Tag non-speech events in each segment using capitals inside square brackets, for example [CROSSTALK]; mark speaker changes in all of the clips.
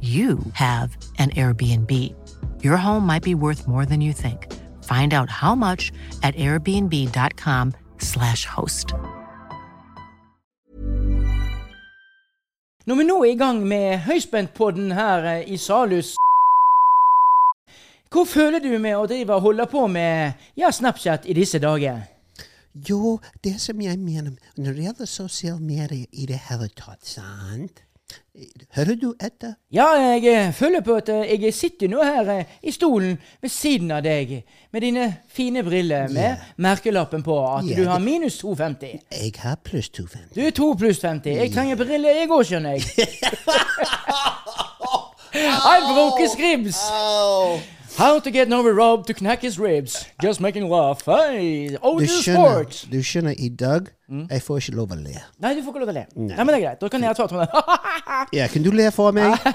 Speaker 1: you have an Airbnb. Your home might be worth more than you think. Find out how much at airbnb.com/slash host.
Speaker 2: Når vi nå er i gang med Høyspentpodden her eh, i Salhus Hvor føler du med å drive og holde på med ja, Snapchat i disse dager?
Speaker 3: Jo, det som jeg mener når det gjelder sosiale medier i det hele tatt, sant Hører du etter?
Speaker 2: Ja, jeg eh, føler på at eh, jeg sitter nå her eh, i stolen ved siden av deg med dine fine briller med merkelappen på at
Speaker 3: Ja,
Speaker 2: du har
Speaker 3: det-
Speaker 2: minus 250.
Speaker 3: Jeg har pluss 250.
Speaker 2: Du er 2 pluss 50. Jeg trenger briller, jeg òg, skjønner jeg. I broke his ribs. How to get Norway Rob to knack his ribs. Just making laugh. Hey, oh,
Speaker 3: Du
Speaker 2: this
Speaker 3: skjønner,
Speaker 2: sport.
Speaker 3: du skjønner, i dag
Speaker 2: Mm.
Speaker 3: jeg får ikke lov å le.
Speaker 2: Nei, du får ikke lov til å le. Nei, men det er greit. Da kan jeg ta tonen.
Speaker 3: Ja, kan du le for meg?
Speaker 2: [LAUGHS]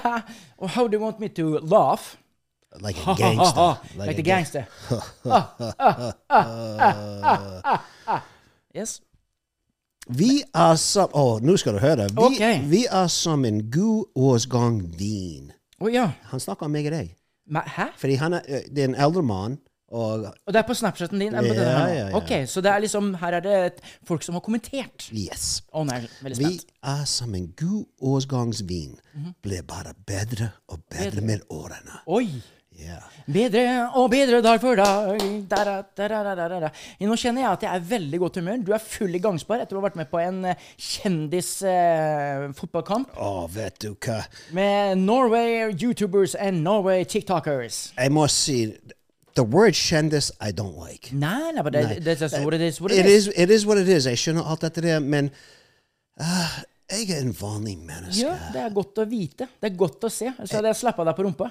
Speaker 2: oh, how do you want me to laugh? Ah,
Speaker 3: Like a [LAUGHS] gangster.
Speaker 2: like, the gangster. Ah, ah. Yes.
Speaker 3: Vi er som Å, nå skal du høre. Vi,
Speaker 2: Ok.
Speaker 3: vi er som en god årgang vin.
Speaker 2: Å ja.
Speaker 3: Han snakker om meg og deg.
Speaker 2: Men, hæ?
Speaker 3: Fordi han er, eh, det er en eldre mann, og
Speaker 2: Og det er på Snapchaten din? eller på
Speaker 3: Ja,
Speaker 2: denne her nå?
Speaker 3: ja, ja.
Speaker 2: Ok, Så det er liksom, her er det et- folk som har kommentert?
Speaker 3: yes.
Speaker 2: Å nei, veldig
Speaker 3: Vi
Speaker 2: spent.
Speaker 3: er som en god årgangsvin. Blir bare bedre og bedre med årene.
Speaker 2: Oi!
Speaker 3: Ja.
Speaker 2: Bedre og bedre dag for dag. Da, da, da, da, da, da, da. Nå kjenner jeg at jeg er i veldig godt humør. Du er full i gangspar etter å ha vært med på en eh, kjendisfotballkamp
Speaker 3: Å, vet du hva.
Speaker 2: med Norway YouTubers and Norway TikTokers.
Speaker 3: Jeg må si The word kjendis I don't like.
Speaker 2: Nei, nei, but that- that's just what it is. What it,
Speaker 3: It
Speaker 2: is.
Speaker 3: is, it is what it is. Jeg skjønner alt dette der, men ah, jeg er en vanlig menneske.
Speaker 2: Ja, det er godt å vite. Det er godt å se. Så hadde jeg slappa deg på rumpa.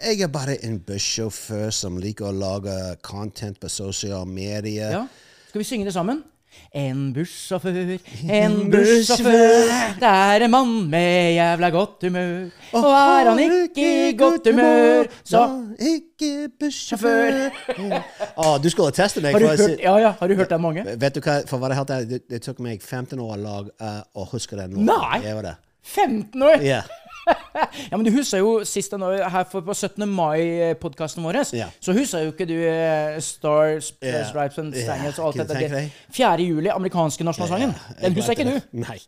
Speaker 3: Jeg er bare en bussjåfør som liker å lage content på sosiale medier.
Speaker 2: Ja. Skal vi synge det sammen? En bussjåfør, en bussjåfør. Det er en mann med jævla godt humør. Og er han ikke i godt humør, så
Speaker 3: Da ikke bussjåfør. Å, du skulle teste meg.
Speaker 2: Har du
Speaker 3: for å si-
Speaker 2: hørt, ja, ja, har du hørt den mange?
Speaker 3: Vet du hva, for å være helt ærlig, det, det tok meg 15 år å lage, eh, å huske den. låten.
Speaker 2: Nei!
Speaker 3: Jeg var det.
Speaker 2: 15 år!
Speaker 3: Ja.
Speaker 2: Ja, men du husker jo sist han var her for, på 17. mai-podkasten vår,
Speaker 3: Ja.
Speaker 2: så husker jo ikke du eh, Star, Sp-
Speaker 3: Ja.
Speaker 2: Stripes and
Speaker 3: Ja,
Speaker 2: Stangles og alt
Speaker 3: kunne
Speaker 2: dette.
Speaker 3: tenke
Speaker 2: der.
Speaker 3: deg.
Speaker 2: 4. juli, amerikanske nasjonalsangen. Den husker ikke
Speaker 3: vet
Speaker 2: du.
Speaker 3: det. Nei.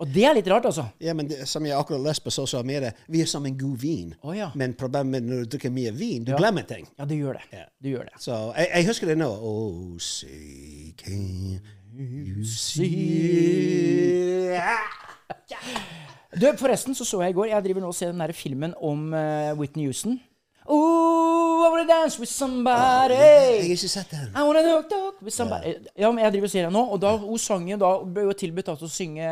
Speaker 2: Og det er litt rart, altså.
Speaker 3: Ja, men det, som jeg akkurat leste på sosiale medier, vi er som en god vin.
Speaker 2: Å, ja.
Speaker 3: Men problemet med når du drikker mye vin, du glemmer ting.
Speaker 2: Ja, du gjør det.
Speaker 3: Ja.
Speaker 2: Du gjør det.
Speaker 3: Så jeg, jeg husker det nå. Oh, see, can you see?
Speaker 2: Du, forresten så så jeg i går Jeg driver nå og ser den der filmen om eh, Whitney Houston. Ooh, I wanna dance with
Speaker 3: Jeg har
Speaker 2: somebody.
Speaker 3: ikke sett den.
Speaker 2: I wanna talk, talk with somebody. Eh, Ja, men jeg driver og ser den nå, og da hun sang jo da Hun ble jo tilbudt altså å synge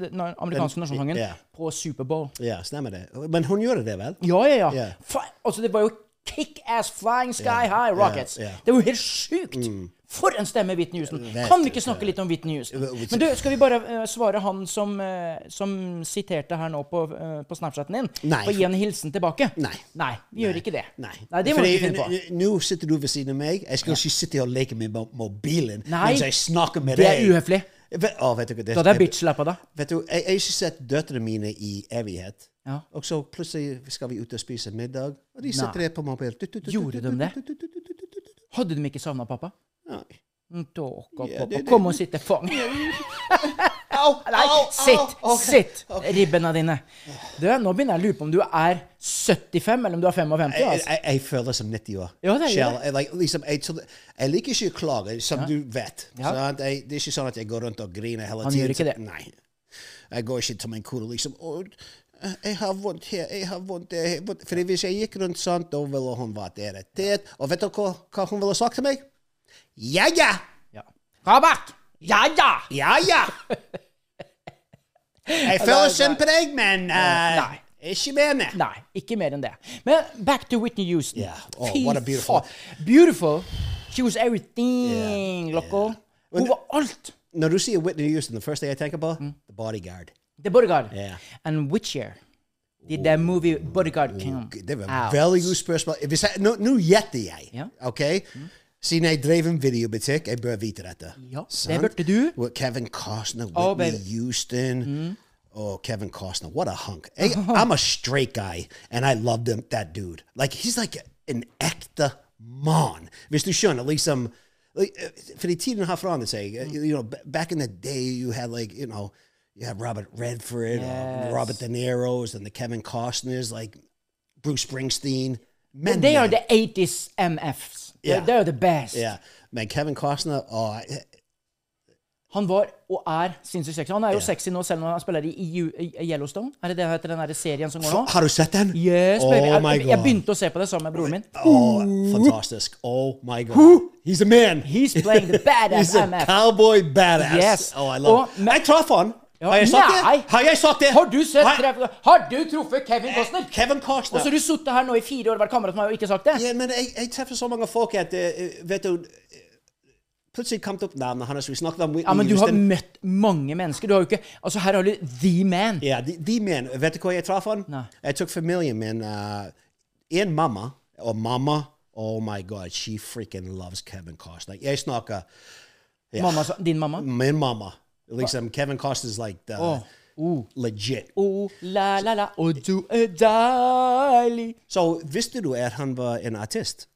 Speaker 2: den amerikanske
Speaker 3: Den-
Speaker 2: nasjonalsangen
Speaker 3: ja.
Speaker 2: på Superbowl.
Speaker 3: Ja, stemmer det. Men hun gjorde det, vel?
Speaker 2: Ja, ja, ja.
Speaker 3: Ja.
Speaker 2: Fa altså, det var jo Kick-ass flying sky high rockets.
Speaker 3: ja. Mm.
Speaker 2: Det var jo helt sjukt! For en stemme, Whitney Houston.
Speaker 3: Vet
Speaker 2: Kan vi ikke
Speaker 3: ikke.
Speaker 2: snakke litt om Whitney Houston?
Speaker 3: Hva- hva-
Speaker 2: Men du, skal vi bare eh, svare han som, eh, som siterte her nå på, eh, på Snapchaten din?
Speaker 3: Nei.
Speaker 2: Og gi en hilsen tilbake?
Speaker 3: Nei.
Speaker 2: Nei, vi gjør ikke det.
Speaker 3: Nei.
Speaker 2: Nei det må vi ikke finne på.
Speaker 3: Fordi, n- n- Nå sitter du ved siden av meg. Jeg skal ikke sitte her og leke med mo- mobilen
Speaker 2: Nei.
Speaker 3: mens jeg snakker med
Speaker 2: Det
Speaker 3: deg.
Speaker 2: er uhøflig.
Speaker 3: Ve- Å, vet du hva, det,
Speaker 2: Da hadde jeg bitch-lappa deg.
Speaker 3: Vet du, jeg, jeg har ikke sett døtrene mine i evighet.
Speaker 2: Ja.
Speaker 3: Og så plutselig skal vi ut og spise middag, og de sitter
Speaker 2: Nei.
Speaker 3: der på mobil. Du, du, du, du,
Speaker 2: Gjorde
Speaker 3: du,
Speaker 2: de det?
Speaker 3: du, du, du, du, du, du, du, du.
Speaker 2: Hadde de ikke savna pappa?
Speaker 3: Nei.
Speaker 2: Mm, Tåka,
Speaker 3: Ja,
Speaker 2: pappa.
Speaker 3: det- det-
Speaker 2: Kom og sitt i fanget. Nei, sitt! Sitt! Ribbena dine. Du, nå begynner jeg å lure på om du er 75, eller om du er 55.
Speaker 3: Jeg,
Speaker 2: altså.
Speaker 3: jeg, jeg føler som 90 år.
Speaker 2: Ja, det gjør
Speaker 3: Selv.
Speaker 2: det.
Speaker 3: Jeg, like, liksom, jeg, trodde- jeg liker ikke å klage, som du vet.
Speaker 2: Ja.
Speaker 3: sant? jeg, det er ikke sånn at jeg går rundt og griner hele
Speaker 2: Han
Speaker 3: tiden.
Speaker 2: gjør ikke det.
Speaker 3: Nei. Jeg går ikke som en kone liksom «Å, jeg har vondt her, jeg har vondt der. jeg har vondt». Fordi hvis jeg gikk rundt sånn, da ville hun vært irritert. Og vet du hva, hva hun ville sagt til meg? Ja, ja!
Speaker 2: Ja. Kabak! Ja, ja!
Speaker 3: Ja,
Speaker 2: [LAUGHS]
Speaker 3: ja! Jeg føler synd på deg, men eh,
Speaker 2: Nei.
Speaker 3: ikke mer. nei.
Speaker 2: Nei, ikke mer enn det. Men back to Whitney Houston.
Speaker 3: Yeah. Oh, what a beautiful-
Speaker 2: faen. Beautiful. She was everything,
Speaker 3: Yeah,
Speaker 2: loco.
Speaker 3: Men-
Speaker 2: Hun var alt.
Speaker 3: Når du sier Whitney Houston, the first thing I think about,
Speaker 2: Mm.
Speaker 3: the bodyguard.
Speaker 2: The Bodyguard.
Speaker 3: Yeah. Oh.
Speaker 2: And which year did that movie Bodyguard come
Speaker 3: Det var
Speaker 2: out?
Speaker 3: et veldig godt spørsmål. Hvis jeg, nå, nå gjetter jeg,
Speaker 2: Ja. Hm.
Speaker 3: ok? Siden jeg drev en videobutikk, jeg bør vite dette.
Speaker 2: Ja, det
Speaker 3: Sant?
Speaker 2: burde du.
Speaker 3: With Kevin Costner,
Speaker 2: Oh, Hm.
Speaker 3: Whitney
Speaker 2: baby.
Speaker 3: Houston. Oh, Kevin Costner, what a hunk. I,
Speaker 2: [LAUGHS]
Speaker 3: I'm a straight guy, and I loved him, that dude. Like, he's like an ekte man. Hvis du skjønner, liksom... um, Like, eh, fordi tiden har forandret seg. Eh,
Speaker 2: Mm.
Speaker 3: You know, b- back in the day, you had like, you know, you had Robert Redford, uh, Robert De Niro's, and the Kevin Costners, like Bruce Springsteen. Men,
Speaker 2: They are
Speaker 3: men-
Speaker 2: the 80s MFs. They're,
Speaker 3: Yeah.
Speaker 2: they're the best.
Speaker 3: Yeah. Men Kevin Costner, oh,
Speaker 2: Han var og er sinnssykt sexy. Han er jo
Speaker 3: Yeah.
Speaker 2: sexy nå, selv når han spiller i, Ju- i Yellowstone. Er det det heter den der serien som går nå?
Speaker 3: har du sett den?
Speaker 2: Yes,
Speaker 3: oh
Speaker 2: baby. Jeg-
Speaker 3: my
Speaker 2: jeg,
Speaker 3: god.
Speaker 2: jeg begynte å se på det sammen med broren min.
Speaker 3: Oh, fantastisk. Oh my god. He's a man.
Speaker 2: He's playing the badass
Speaker 3: He's a
Speaker 2: MF.
Speaker 3: cowboy badass.
Speaker 2: Yes. Oh,
Speaker 3: Oh, I love
Speaker 2: Og-
Speaker 3: it. Jeg traff han. Har jeg sagt
Speaker 2: Nei.
Speaker 3: det? Har jeg sagt det?
Speaker 2: Har du sett
Speaker 3: Har-
Speaker 2: treff... Har du truffet Kevin Costner?
Speaker 3: Kevin Costner.
Speaker 2: Og så har du sittet her nå i fire år og vært kamerat med meg og ikke sagt det?
Speaker 3: Ja, men jeg, jeg treffer så mange folk at eh, vet du eh, Plutselig kom det opp navnet hans. Vi snakket om Whitney
Speaker 2: Ja, men du har
Speaker 3: Houston.
Speaker 2: møtt mange mennesker. Du har jo ikke Altså, her har du the man.
Speaker 3: Ja, de, de menn. Vet du hvor jeg traff han?
Speaker 2: Nei.
Speaker 3: Jeg tok familien min. eh, en mamma og mamma Oh my God, she freaking loves Kevin Costner. Jeg snakker ja, Mm.
Speaker 2: Mamma, sa- din mamma.
Speaker 3: Min mamma. Liksom, um, Kevin Costner's like the,
Speaker 2: Åh. Oh.
Speaker 3: legit.
Speaker 2: Oh, la, la, la, og du er deilig.
Speaker 3: Så visste du at han var en artist?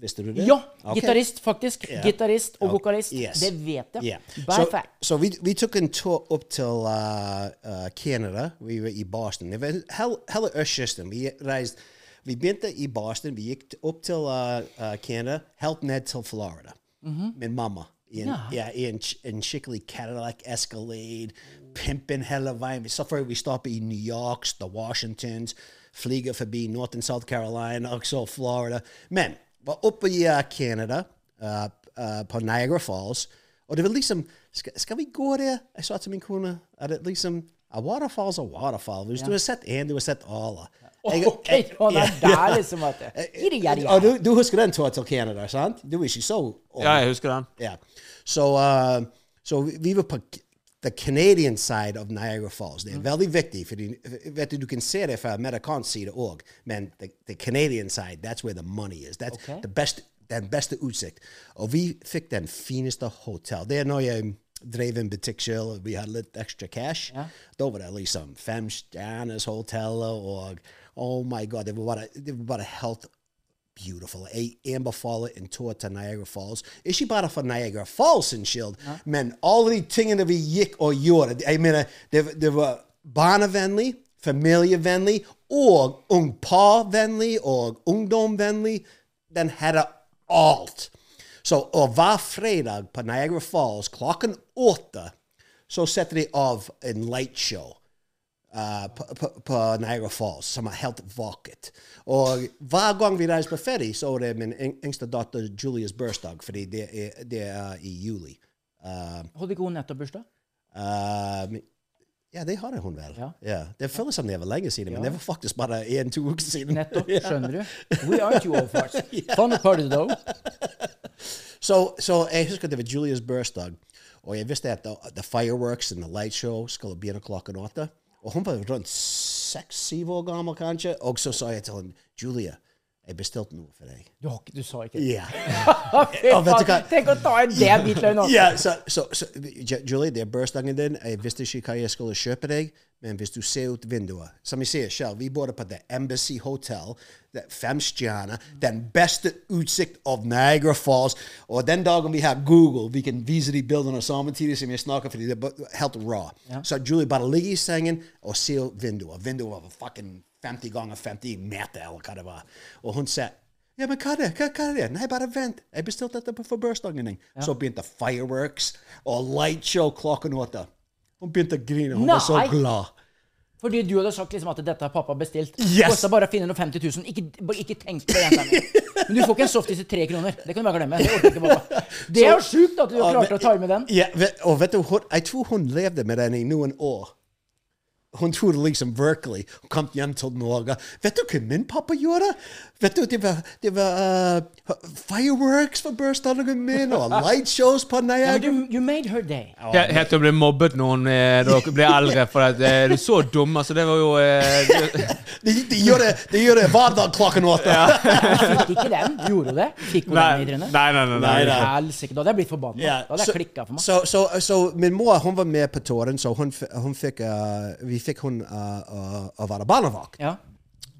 Speaker 3: Visste du det?
Speaker 2: Ja,
Speaker 3: Ok.
Speaker 2: gitarist, faktisk.
Speaker 3: Ja.
Speaker 2: Gitarist og
Speaker 3: Ok,
Speaker 2: vokalist.
Speaker 3: yes.
Speaker 2: Det vet jeg.
Speaker 3: Yeah.
Speaker 2: By
Speaker 3: so,
Speaker 2: fact.
Speaker 3: So we we took in tour up till uh, uh, Canada. We were in Boston. It was hell hell Östersund. We reised we begynte i Boston. Vi gikk t- opp til uh, uh, Canada. Helt ned til Florida. Min mamma. I en, ja. i en, ch- en skikkelig Cadillac Escalade. Pimpen hele veien. Så før vi stopper i New York, the Washingtons. Flyger forbi North and South Carolina, også Florida. Men var oppe i uh, Canada, uh, uh, på Niagara Falls. Og det var liksom Skal, skal vi gå der? Jeg sa til min kone er det liksom A waterfall's a waterfall. Hvis du har sett én, du har sett alle. Jeg-
Speaker 2: Ok,
Speaker 3: jeg-
Speaker 2: han er
Speaker 3: ja.
Speaker 2: der, liksom.
Speaker 3: [LAUGHS]
Speaker 2: At det. Giri, giri,
Speaker 3: Og Eh, Oh, du, du husker den turen til Canada, sant? Du er ikke så
Speaker 4: Ja, jeg husker den.
Speaker 3: Yeah. So, uh, so vi- vi var på k- the Canadian side of Niagara Falls. Det er
Speaker 4: Mm.
Speaker 3: veldig viktig, fordi vet du, du kan se det fra amerikansk side òg, men the, the Canadian side, that's where the money is. That's
Speaker 2: Okay.
Speaker 3: the best, den beste utsikt. Og vi fikk den fineste hotell. Det er når jeg drev en butikk selv, og vi hadde litt ekstra cash. Da var det liksom fem stjerners hotell, og oh my god, det var bare, det var bare helt beautiful. A Amber Fowler and tour to Niagara Falls. Is she bought for Niagara Falls and Shield? Men all the tingin of a yick or yora. I mean, there there were Bonavenly, Familia Venly, or Ung Pa Venly, or Ungdom Venly, then had a alt. So, or var fredag på Niagara Falls, klockan åtta, so Saturday of in light show. uh, på, på, på Niagara Falls, som er helt vakkert. Og hver gang vi reiser på ferie, så er det min yng- yngste datter Julias bursdag, fordi det er, det er i juli. Uh,
Speaker 2: Hadde ikke hun nettopp bursdag?
Speaker 3: uh, Ja, det hadde hun vel.
Speaker 2: Ja.
Speaker 3: Det føles som det var lenge siden, men det var faktisk bare én-to uker siden. [LAUGHS]
Speaker 2: Nettopp. Skjønner du? We are two of us. Fun party, though.
Speaker 3: Så, så jeg husker det var Julias bursdag, og jeg visste at the, the fireworks and the light show skulle begynne klokken åtte. Og hun var rundt seks-syv år gammel, kanskje. Og så sa jeg til henne, Julia, jeg bestilte noe for deg.
Speaker 2: Du, har ikke- du sa ikke det.
Speaker 3: Ja.
Speaker 2: Fy
Speaker 3: Å, vet du hva?
Speaker 2: faen, [LAUGHS] Tenk å ta en det hvitløgn nå.
Speaker 3: Ja, så, så, så Ju- Julie, det er bursdagen din. Jeg visste ikke hva jeg skulle kjøpe deg, men hvis du ser ut vinduet Som jeg sier selv, vi bodde på The Embassy Hotel. det er Fem stjerner. Den beste utsikt av Niagara Falls. Oh, Og den dagen vi har Google, vi kan vise de bildene samtidig som jeg snakker, fordi det er bare helt raw. Så Julie bare ligger i sengen og ser ut vinduet. Vinduet var fucking 50 ganger 50 meter, eller hva det var. Og hun sa ja, men hva er det? Hva, hva er det? Nei, bare vent. Jeg bestilte dette på- for bursdagen din. Så begynte fireworks og light show klokken åtte. Hun begynte å grine. Hun var så
Speaker 2: Nei.
Speaker 3: glad.
Speaker 2: Fordi du hadde sagt liksom at dette har pappa bestilt.
Speaker 3: Yes.
Speaker 2: Kosta bare 450 000. Ikke, bare ikke tenk på det. jenta mi. Men du får ikke en softis til tre kroner. Det kan du bare glemme. Det orker ikke pappa.
Speaker 3: [LAUGHS]
Speaker 2: Det er jo sjukt at du
Speaker 3: Ja,
Speaker 2: klarte å ta med den.
Speaker 3: Ja, ve- og vet du, hun, jeg tror hun levde med den i noen år. Hun trodde liksom virkelig Hun kom hjem til Norge. Vet du hva min pappa gjorde? Vet du, Det var, det var uh, fireworks for bursdagen
Speaker 2: [LAUGHS]
Speaker 3: min, og light shows på
Speaker 2: Ja, men
Speaker 3: Niagara.
Speaker 2: you, you made her day.
Speaker 4: He- Helt til å bli mobbet når hun eh, da blir eldre, for at eh, du er så dum. Altså, det var jo
Speaker 2: [LAUGHS]
Speaker 4: eh, det-
Speaker 3: De, de gjør det de gjør det hver dag klokken åtte.
Speaker 2: Fikk ikke den. Gjorde du det? Fikk hun den i trynet?
Speaker 4: nei, nei. nei, nei.
Speaker 3: Nei, nei.
Speaker 2: Helsike, da hadde jeg blitt forbanna.
Speaker 3: Ja,
Speaker 2: Da hadde
Speaker 3: så-
Speaker 2: jeg klikka for meg.
Speaker 3: Så, så, så uh, min mor hun var med på turen, så hun, f- hun fikk, eh, vi fikk hun eh, å- å være barnevakt.
Speaker 2: Ja.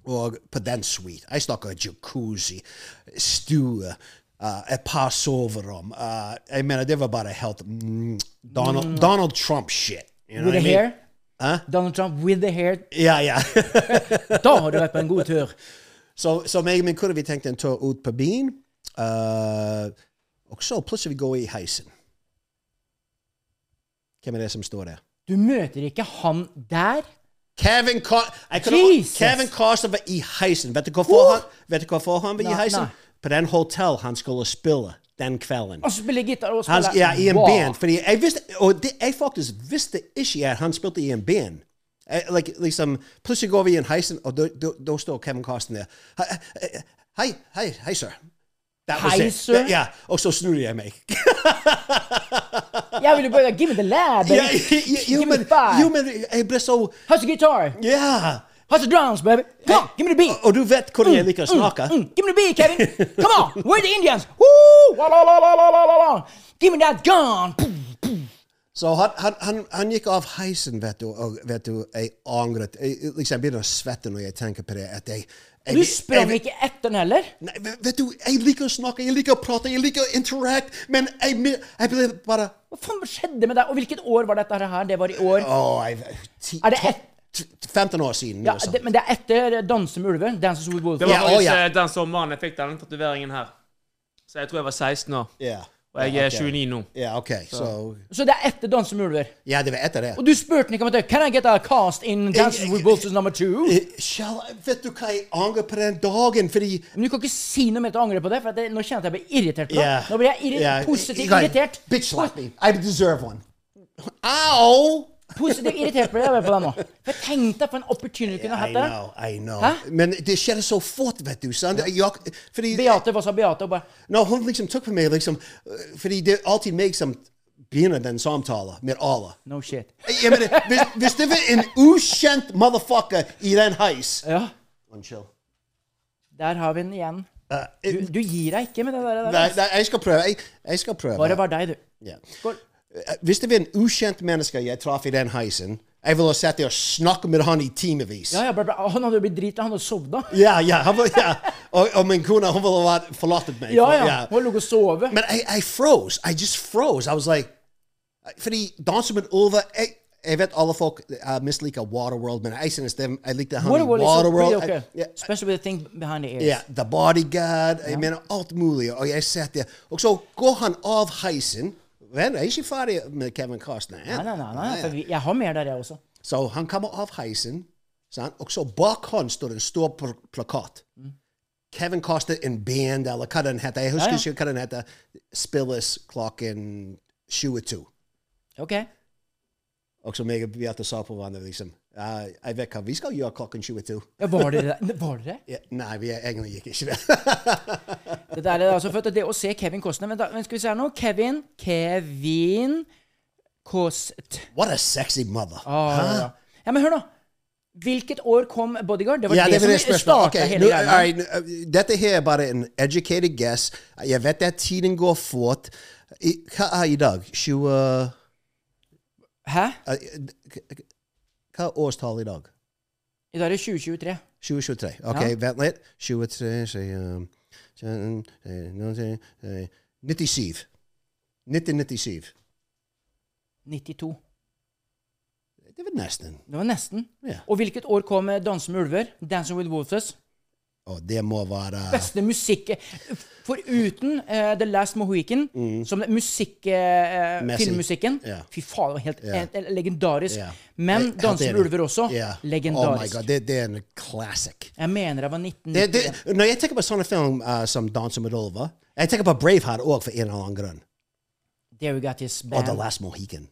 Speaker 3: Og på den suite. Jeg snakker jacuzzi, stue, eh, et par soverom. eh, jeg mener, det var bare helt mm, Donald, Donald Trump-shit. You know
Speaker 2: With the
Speaker 3: what I mean?
Speaker 2: hair. Donald Trump with the hair.
Speaker 3: Ja, [LAUGHS] ja.
Speaker 2: Da har du vært på en god tur.
Speaker 3: Så, så meg og min kone, vi tenkte en tur ut på byen. eh, og så plutselig går vi i heisen. Hvem er det som står der?
Speaker 2: Du møter ikke han der.
Speaker 3: Kevin, Car jeg kunne-
Speaker 2: Jesus.
Speaker 3: Kevin Costner var i heisen. Vet du hvorfor han, vet du hvorfor han var
Speaker 2: Nei,
Speaker 3: i heisen?
Speaker 2: nei.
Speaker 3: På den hotell han skulle spille den kvelden.
Speaker 2: Og spiller gitar og
Speaker 3: Han,
Speaker 2: spiller
Speaker 3: ja, I en
Speaker 2: Wow.
Speaker 3: band. Fordi jeg visste, og det, jeg faktisk visste ikke at han spilte i en band. Jeg, like, liksom, plutselig går vi i en heisen, og da- da da står Kevin Costner der. Hei, hei, hei, hei, sir. That was
Speaker 2: Hei,
Speaker 3: it.
Speaker 2: sir.
Speaker 3: Ja, og så snur jeg
Speaker 2: [LAUGHS]
Speaker 3: meg.
Speaker 2: Jeg ville bare Give me the lab.
Speaker 3: Ja,
Speaker 2: baby.
Speaker 3: [LAUGHS] jo,
Speaker 2: Give me
Speaker 3: men,
Speaker 2: the five.
Speaker 3: jo, men jeg ble så
Speaker 2: How's the guitar?
Speaker 3: Ja!
Speaker 2: How's the drums, baby? Come on, give me the beat.
Speaker 3: Og du vet hvordan jeg liker å snakke.
Speaker 2: Mm, give me the beat, Kevin. Come on, we're the Indians. Woo! La, la, la, la, la, la, la, la. Give me that gun.
Speaker 3: Så han, han, han, han gikk av heisen, vet du, og vet du, jeg angret. Jeg, jeg- liksom, jeg begynner å svette når jeg tenker på det. At jeg, jeg,
Speaker 2: Du sprang
Speaker 3: jeg-
Speaker 2: ikke etter den heller.
Speaker 3: Nei, vet- vet du, jeg liker å snakke, jeg liker å prate, jeg liker å interact, men jeg, mi- jeg ble bare
Speaker 2: Hva faen skjedde med deg? Og hvilket år var dette her? Det var i år.
Speaker 3: Å, jeg ti,
Speaker 2: Er det
Speaker 3: to-
Speaker 2: et-
Speaker 3: t- 15 år siden.
Speaker 2: Ja,
Speaker 3: eller
Speaker 2: det,
Speaker 3: sånt.
Speaker 2: men det er etter 'Danse med ulver'. Dances with wolves.
Speaker 4: Det var
Speaker 3: Ja,
Speaker 4: faktisk
Speaker 3: å, ja.
Speaker 4: eh, den sommeren jeg fikk denne tatoveringen her. Så jeg tror jeg var 16 år.
Speaker 3: Ja.
Speaker 4: Og jeg
Speaker 3: Ja,
Speaker 4: er
Speaker 3: ok.
Speaker 4: 29 nå.
Speaker 3: Ja, OK. Så
Speaker 2: Så det er etter 'Danse med ulver'.
Speaker 3: Ja, det var etter det.
Speaker 2: Og du spurte ikke om at 'Can I get a cast in Dances with wolves as number two?'
Speaker 3: Eh, Shall, I- vet du hva jeg angrer på den dagen? Fordi
Speaker 2: Men du kan ikke si noe mer til å angre på det, for at det, nå kjente jeg at jeg ble irritert på deg.
Speaker 3: Yeah.
Speaker 2: Nå ble jeg irri
Speaker 3: Yeah.
Speaker 2: positivt
Speaker 3: Like,
Speaker 2: irritert.
Speaker 3: er Bitch slap me. I deserve one. Au!
Speaker 2: Positivt irritert ble jeg på deg nå. For tenk deg for en opportunity du kunne
Speaker 3: I
Speaker 2: hatt der.
Speaker 3: know, I know.
Speaker 2: Hæ?
Speaker 3: Men det skjedde så fort, vet du. sant? Jeg, fordi
Speaker 2: Beate, hva sa Beate? Og bare
Speaker 3: Når hun liksom tok på meg, liksom øh, Fordi det er alltid meg som begynner den samtalen med alle.
Speaker 2: No shit.
Speaker 3: Jeg mener, hvis, hvis det var en ukjent motherfucker i den heis
Speaker 2: Ja,
Speaker 3: Unnskyld.
Speaker 2: der har vi den igjen.
Speaker 3: Eh,
Speaker 2: Du, du gir deg ikke med det der.
Speaker 3: nei,
Speaker 2: der.
Speaker 3: nei, jeg skal prøve. Jeg, jeg skal prøve.
Speaker 2: Bare var deg, du.
Speaker 3: Ja.
Speaker 2: Skål.
Speaker 3: Eh, Hvis det var en ukjent menneske jeg traff i den heisen, jeg ville ha satt der og snakket med han i timevis.
Speaker 2: Ja, ja, bare, bare, han hadde jo blitt drita, han hadde sovna.
Speaker 3: Ja, ja, han [LAUGHS] var, ja. Og, og min kone hun ville ha forlatt meg.
Speaker 2: Ja,
Speaker 3: for-
Speaker 2: ja. Hun lå og sove.
Speaker 3: Man, I, I froze. I just froze. I was like, fordi danser med Ulva jeg, jeg vet alle folk uh, misliker Waterworld, men jeg synes dem Jeg likte han i
Speaker 2: Waterworld is so pretty,
Speaker 3: Waterworld.
Speaker 2: okay.
Speaker 3: I- ja,
Speaker 2: liksom- Especially with the thing behind the ears.
Speaker 3: ja, The Bodyguard. Jeg mener alt mulig. Og jeg satt der. Og så går han av heisen. Men jeg er ikke ferdig med Kevin Costner.
Speaker 2: Nei, nei, nei, nei, for vi- jeg har mer der, jeg også.
Speaker 3: Så han kommer av heisen, sant? og så bak han står en stor pl plakat.
Speaker 2: Mm.
Speaker 3: Kevin Costner in band, eller hva den heter. Jeg husker
Speaker 2: Ja, ja.
Speaker 3: ikke hva den heter. Spilles klokken 22.
Speaker 2: Ok.
Speaker 3: Og så meg og Beate sa på hverandre liksom «Ja, Jeg vet hva vi skal gjøre klokken 22.
Speaker 2: Ja, var dere der? [LAUGHS] Var dere?
Speaker 3: Ja, nei, vi er egentlig gikk ikke det. [LAUGHS]
Speaker 2: Det der er altså for at det å se Kevin Costner Men da men skal vi se her nå. Kevin Kevin Cost...
Speaker 3: What a sexy mother.
Speaker 2: Ah, ja. ja, men hør nå. Hvilket år kom Bodyguard? Det var
Speaker 3: Ja,
Speaker 2: det,
Speaker 3: det var det
Speaker 2: som
Speaker 3: spørsmålet.
Speaker 2: starta
Speaker 3: Okay,
Speaker 2: hele
Speaker 3: nå,
Speaker 2: greia.
Speaker 3: alright, nå, dette her er bare en educated guess. Jeg vet at tiden går fort. I, hva er i dag? 20
Speaker 2: Hæ?
Speaker 3: eh, Hva er årstallet i dag?
Speaker 2: I dag er det 2023.
Speaker 3: 2023. Ok,
Speaker 2: Ja.
Speaker 3: vent litt. 23 så, um, så, eh, nå, så, eh, 97. 1997.
Speaker 2: 92.
Speaker 3: Det var nesten.
Speaker 2: Det var nesten.
Speaker 3: Ja.
Speaker 2: Og hvilket år kom eh, 'Danse med ulver'? 'Dancing with Wolves'?
Speaker 3: Og det må være
Speaker 2: Beste musikk Foruten eh, 'The Last Mohican', som det- musikk, eh,
Speaker 3: Messig.
Speaker 2: filmmusikken
Speaker 3: Mm. Ja.
Speaker 2: Fy faen, det var helt
Speaker 3: Ja.
Speaker 2: eh, legendarisk.
Speaker 3: Ja.
Speaker 2: Men
Speaker 3: Helt
Speaker 2: 'Danse med
Speaker 3: enig.
Speaker 2: ulver' også.
Speaker 3: Ja. Oh my
Speaker 2: Legendarisk. Mm.
Speaker 3: God, det, det er en classic.
Speaker 2: jeg mener det var 1990.
Speaker 3: Det, det, når jeg tenker på sånne film eh, som 'Danser med ulver' Jeg tenker på Braveheart òg, for en eller annen grunn.
Speaker 2: There we got this
Speaker 3: Og
Speaker 2: band.
Speaker 3: The Last Mohican.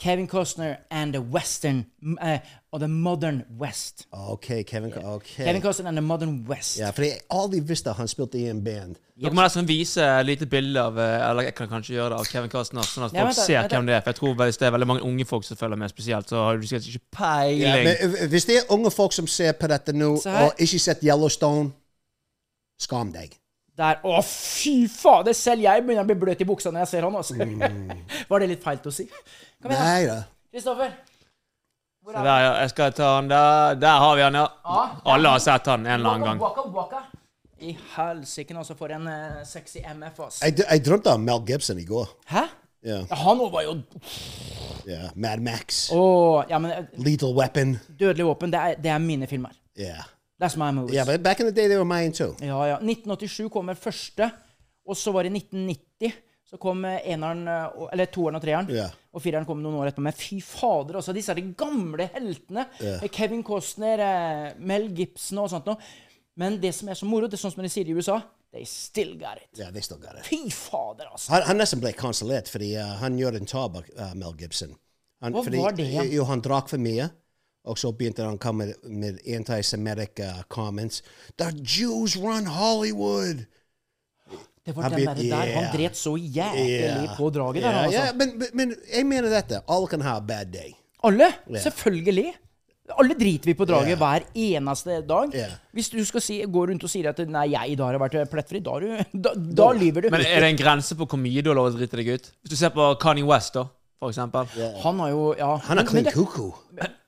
Speaker 2: Kevin Costner and the Western m- eh, Og the Modern West.
Speaker 3: Ok, Kevin. ok.
Speaker 2: Kevin Costner and the Modern West.
Speaker 3: Ja, for jeg aldri visste han spilte i en band.
Speaker 4: Dere må nesten vise et lite bilde av eh, Eller jeg kan kanskje gjøre det av Kevin Costner, sånn at
Speaker 2: Ja,
Speaker 4: folk
Speaker 2: vent da,
Speaker 4: ser
Speaker 2: vent da.
Speaker 4: hvem det er. For jeg tror hvis det er veldig mange unge folk som følger med spesielt, så har du sikkert ikke
Speaker 3: Ja,
Speaker 4: peiling.
Speaker 3: men eh, hvis det er unge folk som ser på dette nå,
Speaker 2: Så her-
Speaker 3: og ikke sett Yellowstone, skam deg.
Speaker 2: Der. Å, fy fader! Selv jeg begynner å bli bløt i buksa når jeg ser han. Altså.
Speaker 3: Mm.
Speaker 2: [LAUGHS] Var det litt feil å si? Kom igjen, da.
Speaker 3: Nei da.
Speaker 2: Kristoffer. Hvor
Speaker 4: Så
Speaker 2: er
Speaker 4: der,
Speaker 2: han?
Speaker 4: ja. Jeg skal ta han der. Der har vi han, ja. Alle har sett han en eller annen
Speaker 2: Waka,
Speaker 4: gang.
Speaker 2: waka, waka. I helsike, altså, for en eh, sexy MF, ass.
Speaker 3: Jeg, jeg drømte om Mel Gibson i går.
Speaker 2: Hæ?
Speaker 3: Ja,
Speaker 2: Ja, han var jo
Speaker 3: ja. Mad Max.
Speaker 2: Å, ja, men eh,
Speaker 3: Lethal Weapon.
Speaker 2: Dødelig våpen, det er, det er mine filmer.
Speaker 3: Ja.
Speaker 2: That's my movies.
Speaker 3: Ja, but back in the day, they were mine too.
Speaker 2: Ja, ja. 1987 kom den første, og så var det 1990. Så kom eh, eneren, eh, og- eller toeren og treeren.
Speaker 3: Ja.
Speaker 2: Og fireren kom noen år etterpå. Men fy fader, altså. Disse er de gamle heltene. Eh, Kevin Costner, eh, Mel Gibson og sånt noe. Men det som er så moro, det er sånn som de sier i USA They still got it.
Speaker 3: Ja, they still got it.
Speaker 2: Fy fader, altså.
Speaker 3: Han, han nesten ble kansellert fordi eh, han gjorde en tabakk, uh, Mel Gibson. Han,
Speaker 2: Hva var det igjen?
Speaker 3: Jo, han drakk for mye. Og så begynte han å komme med antisemittic eh, comments. The Jews run Hollywood!
Speaker 2: Det var
Speaker 3: han
Speaker 2: den
Speaker 3: blir-
Speaker 2: derre der. Han
Speaker 3: Yeah.
Speaker 2: dret så jævlig
Speaker 3: Yeah.
Speaker 2: på draget der,
Speaker 3: Ja,
Speaker 2: altså.
Speaker 3: ja, men, men- men jeg mener dette. Alle kan ha a bad day.
Speaker 2: Alle? Selvfølgelig. Alle driter vi på draget
Speaker 3: Ja.
Speaker 2: hver eneste dag.
Speaker 3: Ja.
Speaker 2: Hvis du skal si, gå rundt og sier at 'nei, jeg i dag har vært plettfri', da, er du, [LAUGHS] da, da lyver du.
Speaker 4: Men er det en grense på hvor mye du har lov å drite deg ut? Hvis du ser på Kanye West, da, for eksempel.
Speaker 2: han har jo ja,
Speaker 3: Han er
Speaker 2: men- men
Speaker 3: klin
Speaker 2: det-
Speaker 3: koko.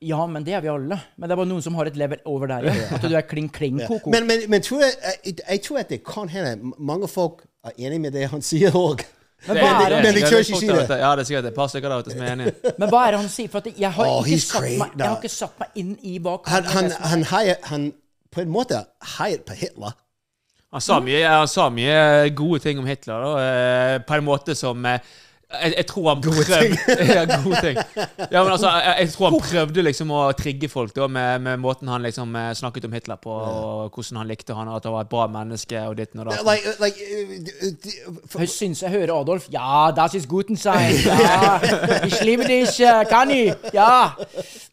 Speaker 2: Ja, men det er vi alle. Men det er bare noen som har et level over der igjen. At du er kling kling koko.
Speaker 3: Men, men, men tror jeg, jeg, jeg tror at det kan hende mange folk er enig med det han sier òg.
Speaker 2: Men
Speaker 4: Det er-
Speaker 2: hva er
Speaker 4: det
Speaker 2: det?
Speaker 4: er-
Speaker 3: Men de
Speaker 4: det er
Speaker 3: tør
Speaker 4: litt
Speaker 3: ikke
Speaker 4: folk
Speaker 3: si
Speaker 4: der
Speaker 3: det.
Speaker 4: ute. Ja, det er sikkert et par stykker der ute som er enige.
Speaker 2: Men hva er det han sier? For at jeg har
Speaker 3: Oh,
Speaker 2: ikke
Speaker 3: he's
Speaker 2: satt
Speaker 3: great.
Speaker 2: meg, jeg
Speaker 3: No.
Speaker 2: har ikke satt meg inn i hva
Speaker 3: Han,
Speaker 2: Kanye
Speaker 3: han,
Speaker 2: West-
Speaker 3: han, heier- han på en måte heiet på Hitler.
Speaker 4: Han sa mye, han sa mye eh, gode ting om Hitler, da, eh, på en måte som eh, jeg, jeg tror han prøvde
Speaker 3: ting.
Speaker 4: [LAUGHS] ja, gode ting. Ja, men altså, jeg, jeg tror han prøvde liksom å trigge folk da, med, med måten han liksom eh, snakket om Hitler på, og hvordan han likte han, og at han var et bra menneske og ditten og datten.
Speaker 3: Like, like, uh, uh, for-
Speaker 2: Jeg syns jeg hører Adolf. Ja, das ist guten sein. Ja, ich liebe dich, eh, Kanye. Ja.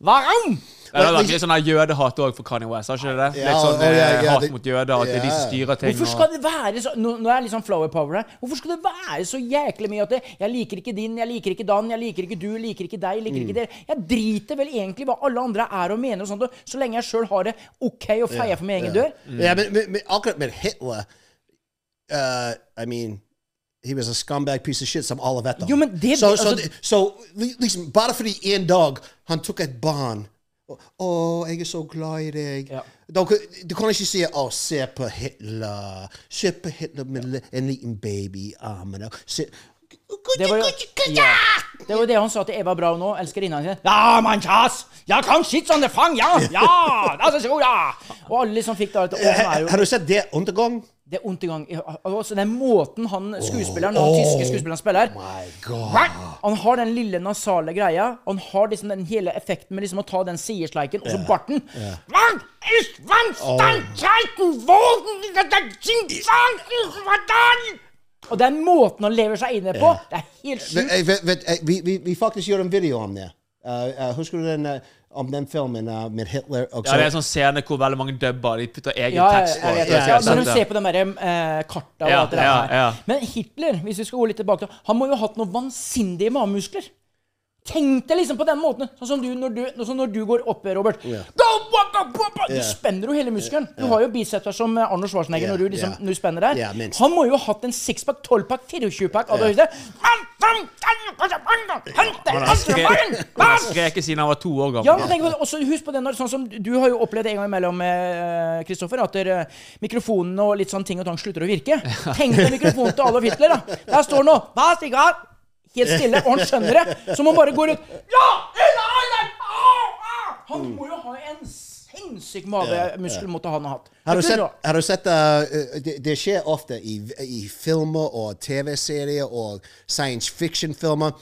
Speaker 2: Warum?
Speaker 4: Ja, det var litt sånn her jødehat òg for Kanye West, har ikke det det?
Speaker 3: Ja,
Speaker 4: Litt
Speaker 3: og-
Speaker 4: sånn
Speaker 3: og jeg-
Speaker 4: eh,
Speaker 3: ja,
Speaker 4: hat
Speaker 3: det-
Speaker 4: mot jøder, at det er de som
Speaker 3: ja.
Speaker 4: styrer ting.
Speaker 2: Hvorfor
Speaker 4: og-
Speaker 2: skal det være så Nå, nå er jeg litt sånn flower power her. Hvorfor skal det være så jæklig mye at det, 'jeg liker ikke din, jeg liker ikke dan, jeg liker ikke du, jeg liker ikke deg', jeg liker ikke dere? Jeg driter vel egentlig hva alle andre er og mener og sånt, og så lenge jeg sjøl har det OK og feier for min egen dør.
Speaker 3: Yeah, but, but, but I'll admit Hitler. Uh, I mean, he was a scumbag piece of shit. Some Oliveto.
Speaker 2: Jo, men det-
Speaker 3: so, so,
Speaker 2: altså-
Speaker 3: the- so, li- liksom, bare fordi en dag han tok et barn Å, jeg er så glad i deg.
Speaker 2: Ja.
Speaker 3: Da kan- Du kan ikke si 'Å, se på Hitler'. Se på Hitler med li- en liten baby i armene. Se
Speaker 2: Det var jo ja. Det var jo det han sa til Eva Braun nå, elskerinna sin. Ja, mann, kjas! Ja, kan shit on the fang, ja! Ja! Das ist gut, ja! Og alle liksom fikk da et Å, han er jo
Speaker 3: Har du sett det undergang?
Speaker 2: Det er ondt i gang. Altså, den måten han skuespilleren, han tyske skuespilleren spiller Han har den lille nasale greia. Han har liksom den hele effekten med liksom å ta den sidesleiken og så barten. Wann ist wann stand Zeiten, Wogen, der Jing, Wann ist wann dann? Og den måten han lever seg inne på, det er helt sjukt.
Speaker 3: Vet- vet- vet- eh, Vi, vi, vi faktisk gjorde en video om det. Eh, eh, husker du den, eh, om den filmen eh, med Hitler? og
Speaker 4: Ja, det er en sånn scene hvor veldig mange dubber. De putter egen
Speaker 2: Ja, jeg,
Speaker 4: tekst på.
Speaker 2: jeg vet
Speaker 3: Ja,
Speaker 2: det.
Speaker 3: ja,
Speaker 2: Ja,
Speaker 3: ja.
Speaker 2: når du ser på den derre eh, karta og
Speaker 4: Ja,
Speaker 2: alt det der.
Speaker 4: ja, ja.
Speaker 2: Men Hitler, hvis vi skal gå litt tilbake til Han må jo ha hatt noen vansindige magemuskler. Tenk deg liksom på den måten, sånn som du når du, sånn som når du går opp, Robert. Go, walk, go, go, go. Du
Speaker 3: Ja.
Speaker 2: spenner jo hele muskelen. Du har jo biceps som eh, Arnold Schwarzenegger når,
Speaker 3: Ja,
Speaker 2: du liksom,
Speaker 3: ja.
Speaker 2: når du spenner der.
Speaker 3: Ja, minst.
Speaker 2: han må jo ha hatt en sixpack, tolvpack, 24-pack av det høyeste.
Speaker 4: Han har skreket- han har skreket siden han var to år
Speaker 2: Ja,
Speaker 4: gammel.
Speaker 2: men tenk på det. Også husk på det når, sånn som Du har jo opplevd det en gang imellom, eh, Kristoffer, at der, eh, mikrofonene og litt sånn ting og tang slutter å
Speaker 3: [LAUGHS]
Speaker 2: virke. Tenk på mikrofonen til Adolf Hitler, da. Der står han nå. Hva stikker han? Helt stille. Og han skjønner det. Så man bare går ut Ja! Ina, Ina! Au, au! Han må jo ha en sinnssyk magemuskel mot det han har hatt.
Speaker 3: Har du
Speaker 2: Det kunne
Speaker 3: sett,
Speaker 2: ha-
Speaker 3: har du sett eh, eh, det, det skjer ofte i, i filmer og TV-serier og science fiction-filmer.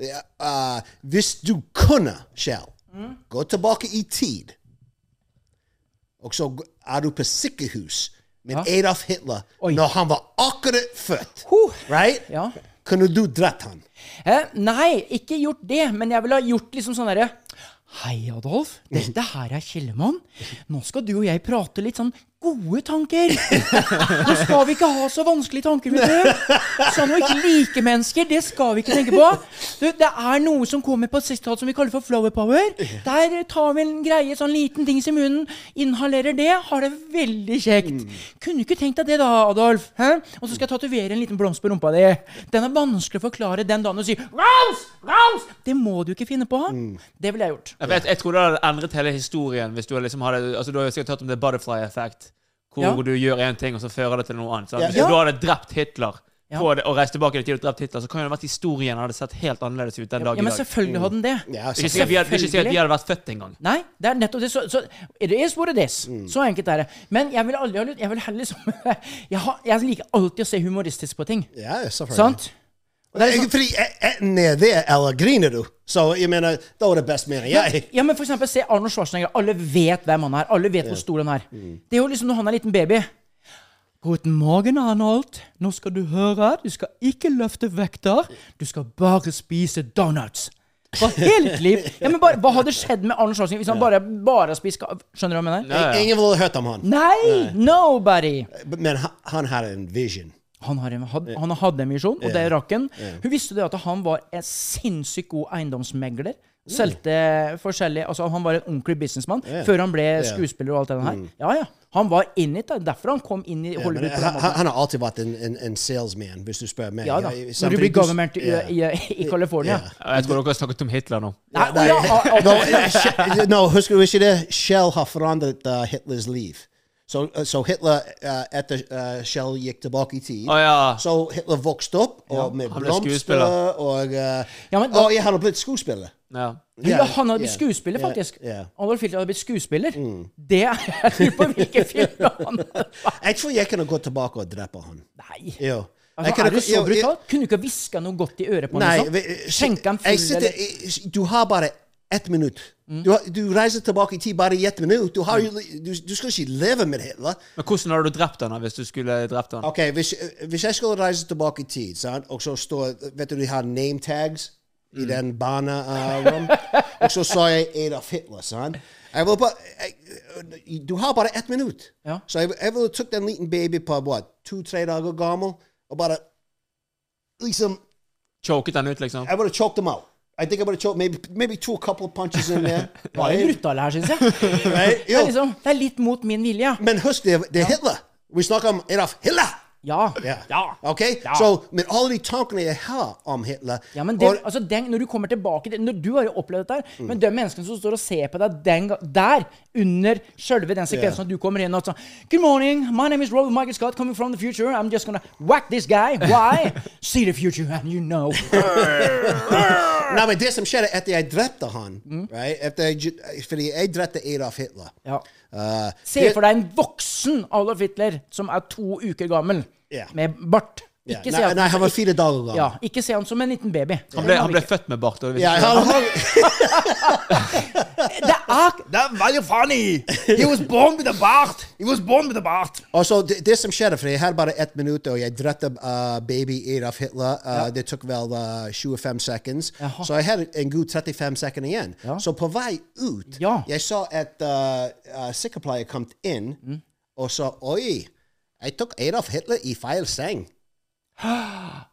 Speaker 3: Eh, eh, hvis du kunne selv
Speaker 4: Mm.
Speaker 3: gå tilbake i tid, og så g- er du på sykehus med Adolf Hitler når han var akkurat født,
Speaker 2: Huh.
Speaker 3: right?
Speaker 2: Ja.
Speaker 3: kunne du drept han?
Speaker 2: Eh, nei, ikke gjort det, men jeg ville ha gjort liksom sånn derre Hei, Adolf. Dette her er Kjellemann. Nå skal du og jeg prate litt sånn gode tanker. Nå skal vi ikke ha så vanskelige tanker, vet du. Sånn og ikke like mennesker, det skal vi ikke tenke på. Du, det er noe som kommer på et sitat som vi kaller for flower power. Der tar vi en greie, sånn liten dings i munnen, inhalerer det, har det veldig kjekt.
Speaker 3: Mm.
Speaker 2: Kunne du ikke tenkt deg det da, Adolf? Hæ? Og så skal jeg tatovere en liten blomst på rumpa di. Den er vanskelig å forklare den dagen du sier Rouse! Rouse! Det må du ikke finne på.
Speaker 3: Mm.
Speaker 2: Det ville jeg gjort.
Speaker 4: Ja, for Jeg, jeg tror det hadde endret hele historien hvis du hadde liksom hadde altså Du har jo sikkert hørt om the butterfly effect, hvor
Speaker 2: Ja.
Speaker 4: du gjør én ting, og så fører det til noe annet. sant? Hvis
Speaker 2: Ja.
Speaker 4: du hadde drept Hitler
Speaker 2: Ja.
Speaker 4: på det, og reist tilbake til tid og drept Hitler, så kan jo det vært historien hadde sett helt annerledes ut den dag
Speaker 2: Ja,
Speaker 4: i
Speaker 2: men
Speaker 4: dag.
Speaker 2: selvfølgelig hadde den det.
Speaker 3: Mm. Ja,
Speaker 4: Det er Ikke sikkert vi hadde- det er ikke sikkert
Speaker 2: Selvfølgelig.
Speaker 4: vi hadde vært født engang.
Speaker 2: Nei, det er nettopp det. Så, så it is what it is.
Speaker 3: Mm.
Speaker 2: Så enkelt er det. Men jeg vil aldri ha lyst Jeg vil heller liksom [LAUGHS] jeg, har, jeg liker alltid å se humoristisk på ting.
Speaker 3: Ja, selvfølgelig.
Speaker 2: Sant? Og det er
Speaker 3: Eh,
Speaker 2: liksom,
Speaker 3: Fordi eh, enten er det, eller griner du. Så jeg mener, da var det best mening. Jeg,
Speaker 2: ja, men for eksempel, se Arnold Schwarzenegger. Alle vet hvem han er. Alle vet hvor stor han er. Det er jo liksom når han er liten baby. Guten morgen, Arnold. Nå skal du høre. Du skal ikke løfte vekter. Du skal bare spise donuts. For hele ditt liv. Ja, men bare, hva hadde skjedd med Arnold Schwarzenegger hvis han bare, bare spiste Skjønner du hva jeg mener?
Speaker 4: Ja, ja.
Speaker 3: ingen ville hørt om han.
Speaker 2: Nei! Nobody!
Speaker 3: Men han, han hadde en vision.
Speaker 2: Han, har en, had, han hadde en visjon, og det rakk han. Hun visste det at han var en sinnssykt god eiendomsmegler. Solgte forskjellige altså Han var en ordentlig businessmann før han ble skuespiller og alt det her. Ja, ja. Han var in it. da. Derfor han kom inn i
Speaker 3: Mm. Ja, men
Speaker 2: Hollywood. på den
Speaker 3: han,
Speaker 2: måten.
Speaker 3: han han har alltid vært en, en, en salesman, hvis du spør meg.
Speaker 2: ja da.
Speaker 3: Jeg-
Speaker 2: Når du
Speaker 3: samtidig-
Speaker 2: blir government i,
Speaker 3: [LAUGHS] Ja.
Speaker 2: i, i California.
Speaker 3: Ja.
Speaker 4: Ja, Jeg tror dere har snakket om Hitler nå.
Speaker 2: Nei, å ja, å- å-
Speaker 3: Nå, Sh- Nå, husker du ikke det? Shell har forandret uh, Hitlers liv. Så så Hitler, uh, etter uh, Shell gikk tilbake i tid,
Speaker 4: Å ja.
Speaker 3: så Hitler vokste opp og med
Speaker 4: han ble
Speaker 3: blomster
Speaker 4: skuespiller.
Speaker 3: og uh,
Speaker 2: Ja, men da-
Speaker 3: Å, ja, han har blitt skuespiller.
Speaker 4: Ja.
Speaker 2: Ja,
Speaker 3: Ja,
Speaker 2: han hadde blitt
Speaker 3: ja,
Speaker 2: skuespiller,
Speaker 3: ja,
Speaker 2: faktisk.
Speaker 3: ja. Mm.
Speaker 2: Adolf Hitler hadde blitt skuespiller. Det er Jeg lurer på hvilken film
Speaker 3: [LAUGHS]
Speaker 2: han
Speaker 3: Jeg tror jeg kunne gå tilbake og drepe han.
Speaker 2: Nei.
Speaker 3: Jo. Jeg
Speaker 2: Altså,
Speaker 3: kunne-
Speaker 2: er du så
Speaker 3: jo, jeg-
Speaker 2: brutal? Kunne du ikke hviska noe godt i øret på ham?
Speaker 3: Nei,
Speaker 2: liksom?
Speaker 3: vi- eh,
Speaker 2: Skjenke ham
Speaker 3: jeg
Speaker 2: full,
Speaker 3: sitter-
Speaker 2: eller Mm.
Speaker 3: eh, Du har bare ett minutt. Du, har- du reiser tilbake i tid bare i ett minutt. Du, har, jo li- du, du skal ikke leve med Hitler.
Speaker 4: Men hvordan hadde du drept han da, hvis du skulle drept han?
Speaker 3: Ok, hvis, eh, hvis jeg skulle reise tilbake i tid, sant? og så står Vet du, de har name tags
Speaker 2: Mm.
Speaker 3: i den barna eh, rom. og så sa jeg Adolf Hitler, sant? Jeg vil bare, jeg, du har bare ett minutt.
Speaker 2: Ja.
Speaker 3: Så jeg, jeg ville tatt den liten baby på what, to-tre dager gammel og bare liksom
Speaker 4: Choket han ut, liksom?
Speaker 3: I would have choked him out. I think I would have choked maybe maybe two a couple of punches
Speaker 2: [LAUGHS]
Speaker 3: in there.
Speaker 2: Det var jo brutale her,
Speaker 3: [LAUGHS]
Speaker 2: syns jeg.
Speaker 3: Right?
Speaker 2: Det er,
Speaker 3: Jo.
Speaker 2: [LAUGHS] liksom, det er litt mot min vilje.
Speaker 3: Men husk, det, det er Hitler. Vi snakker om Adolf Hitler.
Speaker 2: Ja.
Speaker 3: Ja.
Speaker 2: ja.
Speaker 3: Ok? Så, men alle de tankene jeg har om Hitler
Speaker 2: Ja, men det,
Speaker 3: og- Mm.
Speaker 2: altså den, når du kommer tilbake til, når Du har jo opplevd dette, her, men de menneskene som står og ser på deg den, ga- der, under selve den sekvensen at du kommer inn og sånn Good morning, my name is Robert Michael Scott, coming from the future. I'm just gonna whack this guy.
Speaker 3: [LAUGHS]
Speaker 2: Why? See the future, and you know. altså-
Speaker 3: Nei, men det som skjedde etter jeg drepte han right? etter jeg, ju- Fordi jeg drepte Adolf Hitler.
Speaker 2: Ja.
Speaker 3: Uh,
Speaker 2: Se for deg en voksen Adolf Hitler som er to uker gammel,
Speaker 3: Ja.
Speaker 2: med bart.
Speaker 3: ja.
Speaker 2: Ikke se
Speaker 3: Nei, nei,
Speaker 2: han-
Speaker 3: han var fire dager gammel.
Speaker 2: ja, ikke se han som en liten baby.
Speaker 4: Han ble, han ble født med bart. og det
Speaker 3: Ja,
Speaker 4: visste
Speaker 3: han, han,
Speaker 2: [LAUGHS] Det er
Speaker 5: That was funny. He was born with a bart.
Speaker 2: He was born with a bart!
Speaker 3: Og så det, det som skjedde, for jeg har bare ett minutt, og jeg drepte uh, baby Adolf Hitler. Uh, Det tok vel uh, 25 sekunder. Så jeg har en god 35 sekunder igjen. Så på vei ut
Speaker 2: Ja.
Speaker 3: Jeg så at uh, uh, sykepleier kom inn og sa Oh, Oi, jeg tok Adolf Hitler i feil seng.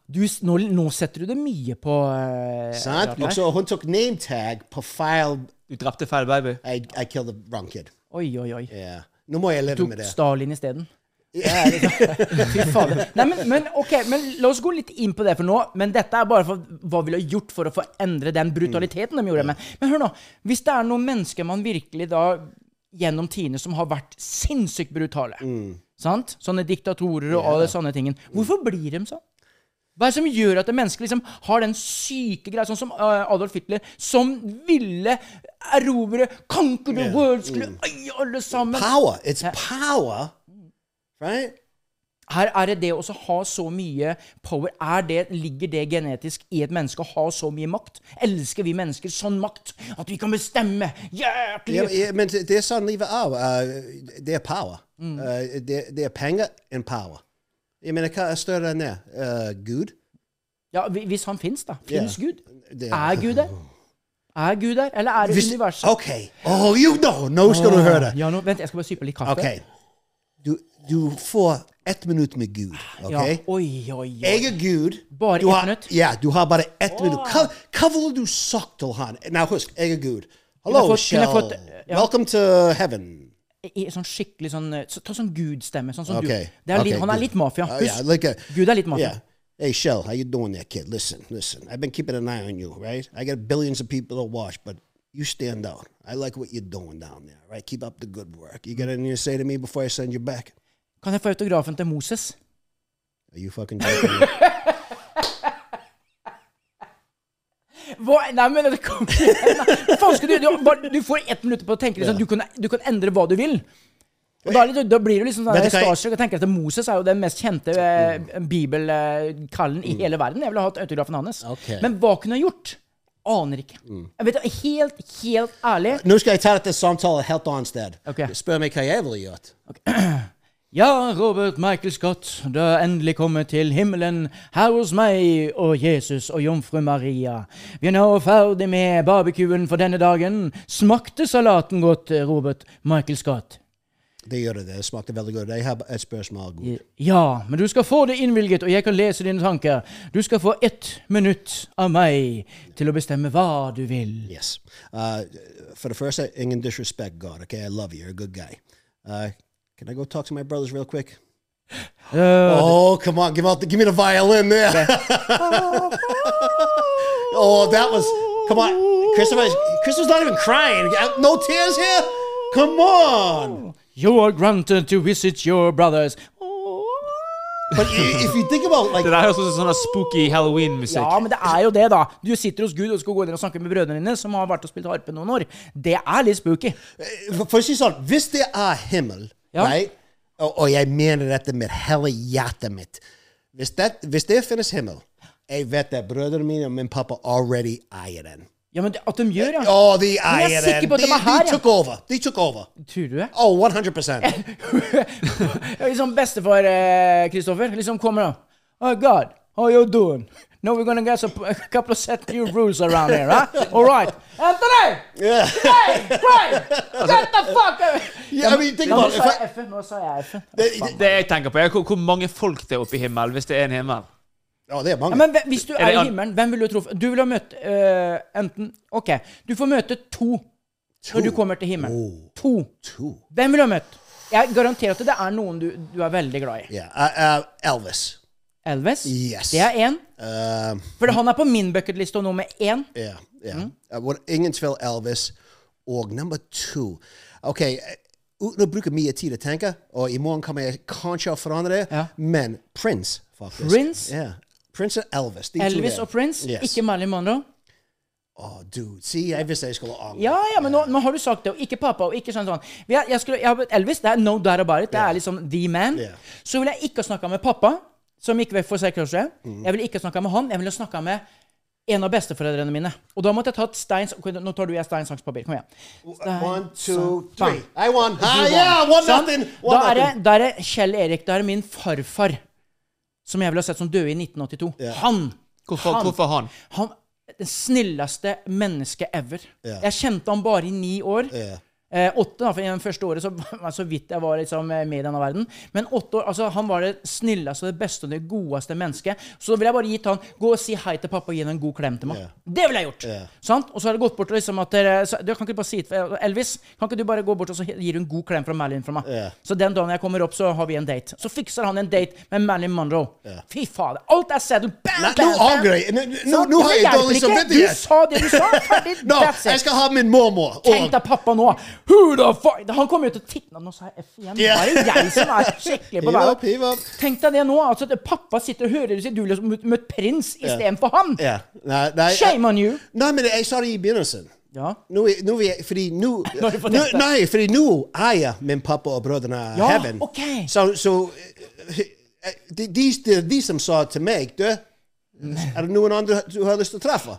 Speaker 2: Du, s- nå, nå setter du det mye på eh,
Speaker 3: Sant?
Speaker 2: Adolf
Speaker 3: Og
Speaker 2: her.
Speaker 3: så hun tok name tag på feil
Speaker 4: Du drepte feil baby.
Speaker 3: I, I killed the wrong kid.
Speaker 2: Oi, oi, oi.
Speaker 3: Yeah. Nå må jeg leve
Speaker 2: Tok
Speaker 3: med det.
Speaker 2: Stalin isteden.
Speaker 3: Ja,
Speaker 2: Fy fader. Nei, men, men ok, men la oss gå litt inn på det for nå. Men dette er bare for hva vi ville ha gjort for å få endre den brutaliteten de gjorde. Men, men hør nå, hvis det er noen mennesker man virkelig da gjennom tidene som har vært sinnssykt brutale, sant? Sånne diktatorer og alle sånne tingen. Hvorfor blir de sånn? Hva er det som gjør at et menneske liksom har den syke greia, sånn som øh, Adolf Hitler, som ville erobre Conquer the world, skulle eie alle sammen
Speaker 3: power. It's power. Right?
Speaker 2: Her er det det å ha så mye power er det, Ligger det genetisk i et menneske å ha så mye makt? Elsker vi mennesker sånn makt at vi kan bestemme jæklig
Speaker 3: Ja, ja, men det er sånn livet er. Uh, det er power.
Speaker 2: Mm.
Speaker 3: Uh, det, det er penger and power. Jeg mener, hva er større enn det? Uh, Gud?
Speaker 2: Ja, hvi- Hvis han fins, da. Fins
Speaker 3: Ja.
Speaker 2: Gud?
Speaker 3: Det-
Speaker 2: Er Gud der? Er Gud der, eller er det
Speaker 3: Hvis-
Speaker 2: universet?
Speaker 3: OK. Oh, you know. Nå skal du høre det.
Speaker 2: Ja, nå, vent, jeg skal bare sype litt kaffe.
Speaker 3: OK. Du, du får ett minutt med Gud. OK?
Speaker 2: Ja. Oi, oi, oi.
Speaker 3: Jeg er Gud.
Speaker 2: Bare
Speaker 3: du
Speaker 2: ett
Speaker 3: har,
Speaker 2: minutt?
Speaker 3: Ja, du har bare ett minutt. Hva, hva ville du sagt til han? Nå, husk, jeg er Gud.
Speaker 2: Kunne jeg
Speaker 3: Hello,
Speaker 2: fått- kunne
Speaker 3: Shell.
Speaker 2: jeg fått- ja.
Speaker 3: Welcome to heaven.
Speaker 2: I, sånn skikkelig sånn eh, så, Ta sånn Gud-stemme. Sånn som
Speaker 3: Ok,
Speaker 2: du. Det er litt,
Speaker 3: ok,
Speaker 2: han er
Speaker 3: Gud.
Speaker 2: litt mafia.
Speaker 3: Oh,
Speaker 2: Husk,
Speaker 3: yeah, like a-
Speaker 2: Gud er litt mafia.
Speaker 3: Yeah. Hey, Shell, how you doing there, kid? Listen, listen. I've been keeping an eye on you, right? I got billions of people to watch, but you stand out. I like what you're doing down there, right? Keep up the good work. You got anything to say to me before I send you back?
Speaker 2: Kan jeg få autografen til Moses?
Speaker 3: Are you fucking joking?
Speaker 2: Hva? Nei, men det kom [LAUGHS] igjen, da. Faen, skal du, du, bare- du får ett minutt på å tenke. Liksom, du, kan, du kan endre hva du vil. Og da, er det- da blir du liksom sånn
Speaker 3: Vet
Speaker 2: der
Speaker 3: du hva jeg- Mm.
Speaker 2: starstruck og tenker at Moses er jo den mest kjente eh, bibelkallen i hele verden. Jeg ville hatt autografen hans.
Speaker 3: Ok. Mm.
Speaker 2: Men hva kunne jeg gjort? Aner ikke. Jeg vet, da, helt, helt ærlig
Speaker 3: Nå skal jeg ta dette samtalen helt annet sted.
Speaker 2: Ok.
Speaker 3: Spør meg hva jeg ville gjort.
Speaker 2: Ja, Robert Michael Scott, du er endelig kommet til himmelen, her hos meg og Jesus og jomfru Maria. Vi er nå ferdig med barbecuen for denne dagen. Smakte salaten godt, Robert Michael Scott?
Speaker 3: Det gjør det. Det smakte veldig godt. Jeg har et spørsmål. Gud.
Speaker 2: Ja, men du skal få det innvilget, og jeg kan lese dine tanker. Du skal få ett minutt av meg til å bestemme hva du vil.
Speaker 3: Yes. Uh, for the first, I- ingen disrespect, God. Okay, I love you. You're a good guy. Uh, can I go talk to my brothers real quick? oh, come on! Give out the, give me the violin there. [LAUGHS] oh, that was come on, Christopher. Christopher's not even crying. No tears here. Come on.
Speaker 2: You are granted to visit your brothers.
Speaker 3: But i- if you think about like
Speaker 4: Det der høres ut som sånn spooky halloween-musikk.
Speaker 2: Ja, men det er jo det, da. Du sitter hos Gud og skal gå inn og snakke med brødrene dine, som har vært og spilt harpe noen år. Det er litt spooky.
Speaker 3: For- For å si sånn, hvis det er himmel,
Speaker 2: Ja.
Speaker 3: right? og, og jeg mener dette med hele hjertet mitt hvis det, hvis det finnes himmel, jeg vet at brødrene mine og min pappa allerede eier den.
Speaker 2: Ja, men det- at de gjør, ja.
Speaker 3: Oh, de
Speaker 2: Men jeg
Speaker 3: eier
Speaker 2: er
Speaker 3: den!
Speaker 2: sikker på at de
Speaker 3: de,
Speaker 2: er her, ja.
Speaker 3: took over. De took over.
Speaker 2: Tror du det? [LAUGHS]
Speaker 3: Oh, 100
Speaker 2: Ja, Liksom bestefar eh, Kristoffer liksom kommer da. Oh God, how you doing? Now we're gonna get some, a couple of set new rules around here, huh? All right. Anthony! Hey,
Speaker 3: [LAUGHS]
Speaker 2: Frank! Get the fuck out!
Speaker 3: Yeah, I mean, think
Speaker 2: Ja, nå
Speaker 3: about it.
Speaker 2: sa jeg
Speaker 3: If
Speaker 2: F-en, nå sa jeg F-en.
Speaker 3: I,
Speaker 4: Det jeg tenker på, er hvor, hvor mange folk det er oppe i himmelen, hvis det er en himmel.
Speaker 3: oh, det
Speaker 2: Ja,
Speaker 3: er mange.
Speaker 2: men hvis du er i
Speaker 4: an-
Speaker 2: himmelen, hvem vil du truffe? Du vil ha møtt eh, enten Ok, du får møte to når du kommer til himmelen. To.
Speaker 3: to.
Speaker 2: Hvem vil du ha møtt? Jeg garanterer at det er noen du, du er veldig glad i.
Speaker 3: Yeah. Uh, uh, Elvis.
Speaker 2: Elvis.
Speaker 3: Yes.
Speaker 2: Det er én.
Speaker 3: Um,
Speaker 2: For han er på min bucketliste og nummer én.
Speaker 3: Ja, ja.
Speaker 2: Hm?
Speaker 3: Eh, hvor ingen tvil Elvis. Og nummer to OK, eh, uten å bruke mye tid å tenke, og i morgen Oh, kan jeg kanskje forandre det,
Speaker 2: Ja.
Speaker 3: men Prince, faktisk.
Speaker 2: Prince?
Speaker 3: Ja. Prince og Elvis. De to
Speaker 2: Elvis
Speaker 3: der.
Speaker 2: og Prince,
Speaker 3: Yes.
Speaker 2: ikke Marilyn Monroe.
Speaker 3: Å, Oh, dude. Si, jeg visste jeg skulle angre.
Speaker 2: Ja, ja, men nå, nå har du sagt det, og ikke pappa, og ikke sånn sånn. Vi er- Jeg skulle, jeg, har- Elvis, det er no doubt about it. Det er liksom the man.
Speaker 3: Ja.
Speaker 2: Så ville jeg ikke ha snakka med pappa, som gikk vekk for seks år siden. Jeg ville ikke ha snakka med han. Jeg ville ha snakka med en av besteforeldrene mine. Og da måtte jeg tatt steins... ok, Nå tar du jeg stein, saks, papir. Kom igjen. Stein,
Speaker 3: One, two,
Speaker 2: saks,
Speaker 3: three.
Speaker 2: bang.
Speaker 3: I won. Ah,
Speaker 2: Du
Speaker 3: yeah,
Speaker 2: vant.
Speaker 3: one
Speaker 2: Sant?
Speaker 3: nothing.
Speaker 2: Da
Speaker 3: One
Speaker 2: er det,
Speaker 3: nothing.
Speaker 2: da er det Kjell Erik. Da er det min farfar, som jeg ville ha sett som døde i 1982. Han!
Speaker 4: Hvorfor han? Hvorfor han?
Speaker 2: Han det snilleste mennesket ever.
Speaker 3: Ja.
Speaker 2: Jeg kjente han bare i ni år.
Speaker 3: Ja.
Speaker 2: Eh, åtte, da, for i det første året så var så vidt jeg var liksom, eh, med i denne verden. Men åtte år, altså han var det snilleste, det beste og det godeste mennesket. Så da ville jeg bare gitt han Gå og si hei til pappa og gi han en god klem til meg. Det ville jeg gjort! Sant? Og så har det gått bort og liksom at dere- så, du, kan ikke du bare si til eh, Elvis, kan ikke du bare gå bort og så gir du en god klem fra Marilyn fra meg? Så den dagen jeg kommer opp, så har vi en date. Så fikser han en date med Marilyn Monroe. Fy fader. Alt er settled. Bam,
Speaker 3: Nei,
Speaker 2: bam,
Speaker 3: nå
Speaker 2: bam.
Speaker 3: avgreier jeg. Nå- nå-
Speaker 2: Så
Speaker 3: nå
Speaker 2: det
Speaker 3: har jeg
Speaker 2: hjelper
Speaker 3: dårlig
Speaker 2: ikke.
Speaker 3: samvittighet.
Speaker 2: Du sa det du sa. Ferdig.
Speaker 3: [LAUGHS] No,
Speaker 2: That's it.
Speaker 3: jeg skal ha min mormor. og-
Speaker 2: Tenk deg pappa nå! Who the fuck? Han kommer jo til å titte Nå sa jeg F igjen.
Speaker 3: Ja.
Speaker 2: Bare jeg som er
Speaker 3: [LAUGHS]
Speaker 2: skikkelig på
Speaker 3: Hiv
Speaker 2: været.
Speaker 3: opp, hiv opp.
Speaker 2: Tenk deg det nå. Altså, at pappa sitter og hører du sier du liksom møtt- møtt prins istedenfor han.
Speaker 3: Ja. nou, eh, Nei, nei,
Speaker 2: Shame on you.
Speaker 3: Nei, men jeg sa det i begynnelsen.
Speaker 2: Ja.
Speaker 3: Nå, er- nå er jeg, fordi nå,
Speaker 2: Nå er det på
Speaker 3: nå
Speaker 2: dette.
Speaker 3: Nei, fordi nå er jeg min pappa og brødrene
Speaker 2: Ja,
Speaker 3: Heaven.
Speaker 2: ok.
Speaker 3: Så, så eh, eh, de, de, de, de som sa til meg Du, er det noen andre du har lyst til å treffe?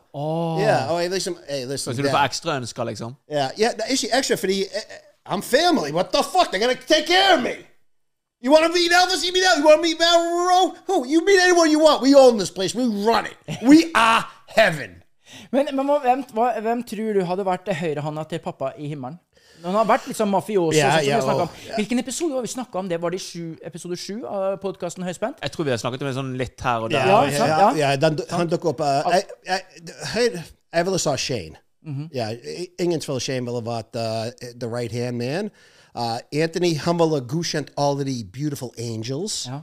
Speaker 3: Ja, og jeg liksom, jeg liksom
Speaker 4: Så du
Speaker 3: der.
Speaker 4: får ekstraønsker, liksom?
Speaker 3: Yeah, yeah, no, it's extra for the. uh, uh, I'm family. What the fuck? They're gonna take care of me. You want to meet Elvis? You meet Elvis. You want to meet Marilyn Monroe? Who? You meet anyone you want. We own this place. We run it. We are heaven.
Speaker 2: Men, men hva- hvem, hva, hvem tror du hadde vært høyrehånda til pappa i himmelen? Når han har vært liksom mafioso.
Speaker 3: Ja,
Speaker 2: sånn som vi
Speaker 3: ja,
Speaker 2: har snakket
Speaker 3: og-
Speaker 2: om. Hvilken episode var vi snakka om det? Var det i sju, episode sju av podkasten Høyspent?
Speaker 4: Jeg tror vi har snakket om det sånn litt her og der.
Speaker 2: Ja, sant, ja.
Speaker 3: yeah. Den, han dukket opp. Uh, jeg, jeg, jeg, jeg ville sa Shane.
Speaker 2: Mhm.
Speaker 3: Ja, i- ingen tvil Shane ville vært uh, the right hand man. Uh, Anthony, han ville godkjent alle de beautiful angels.
Speaker 2: Ja.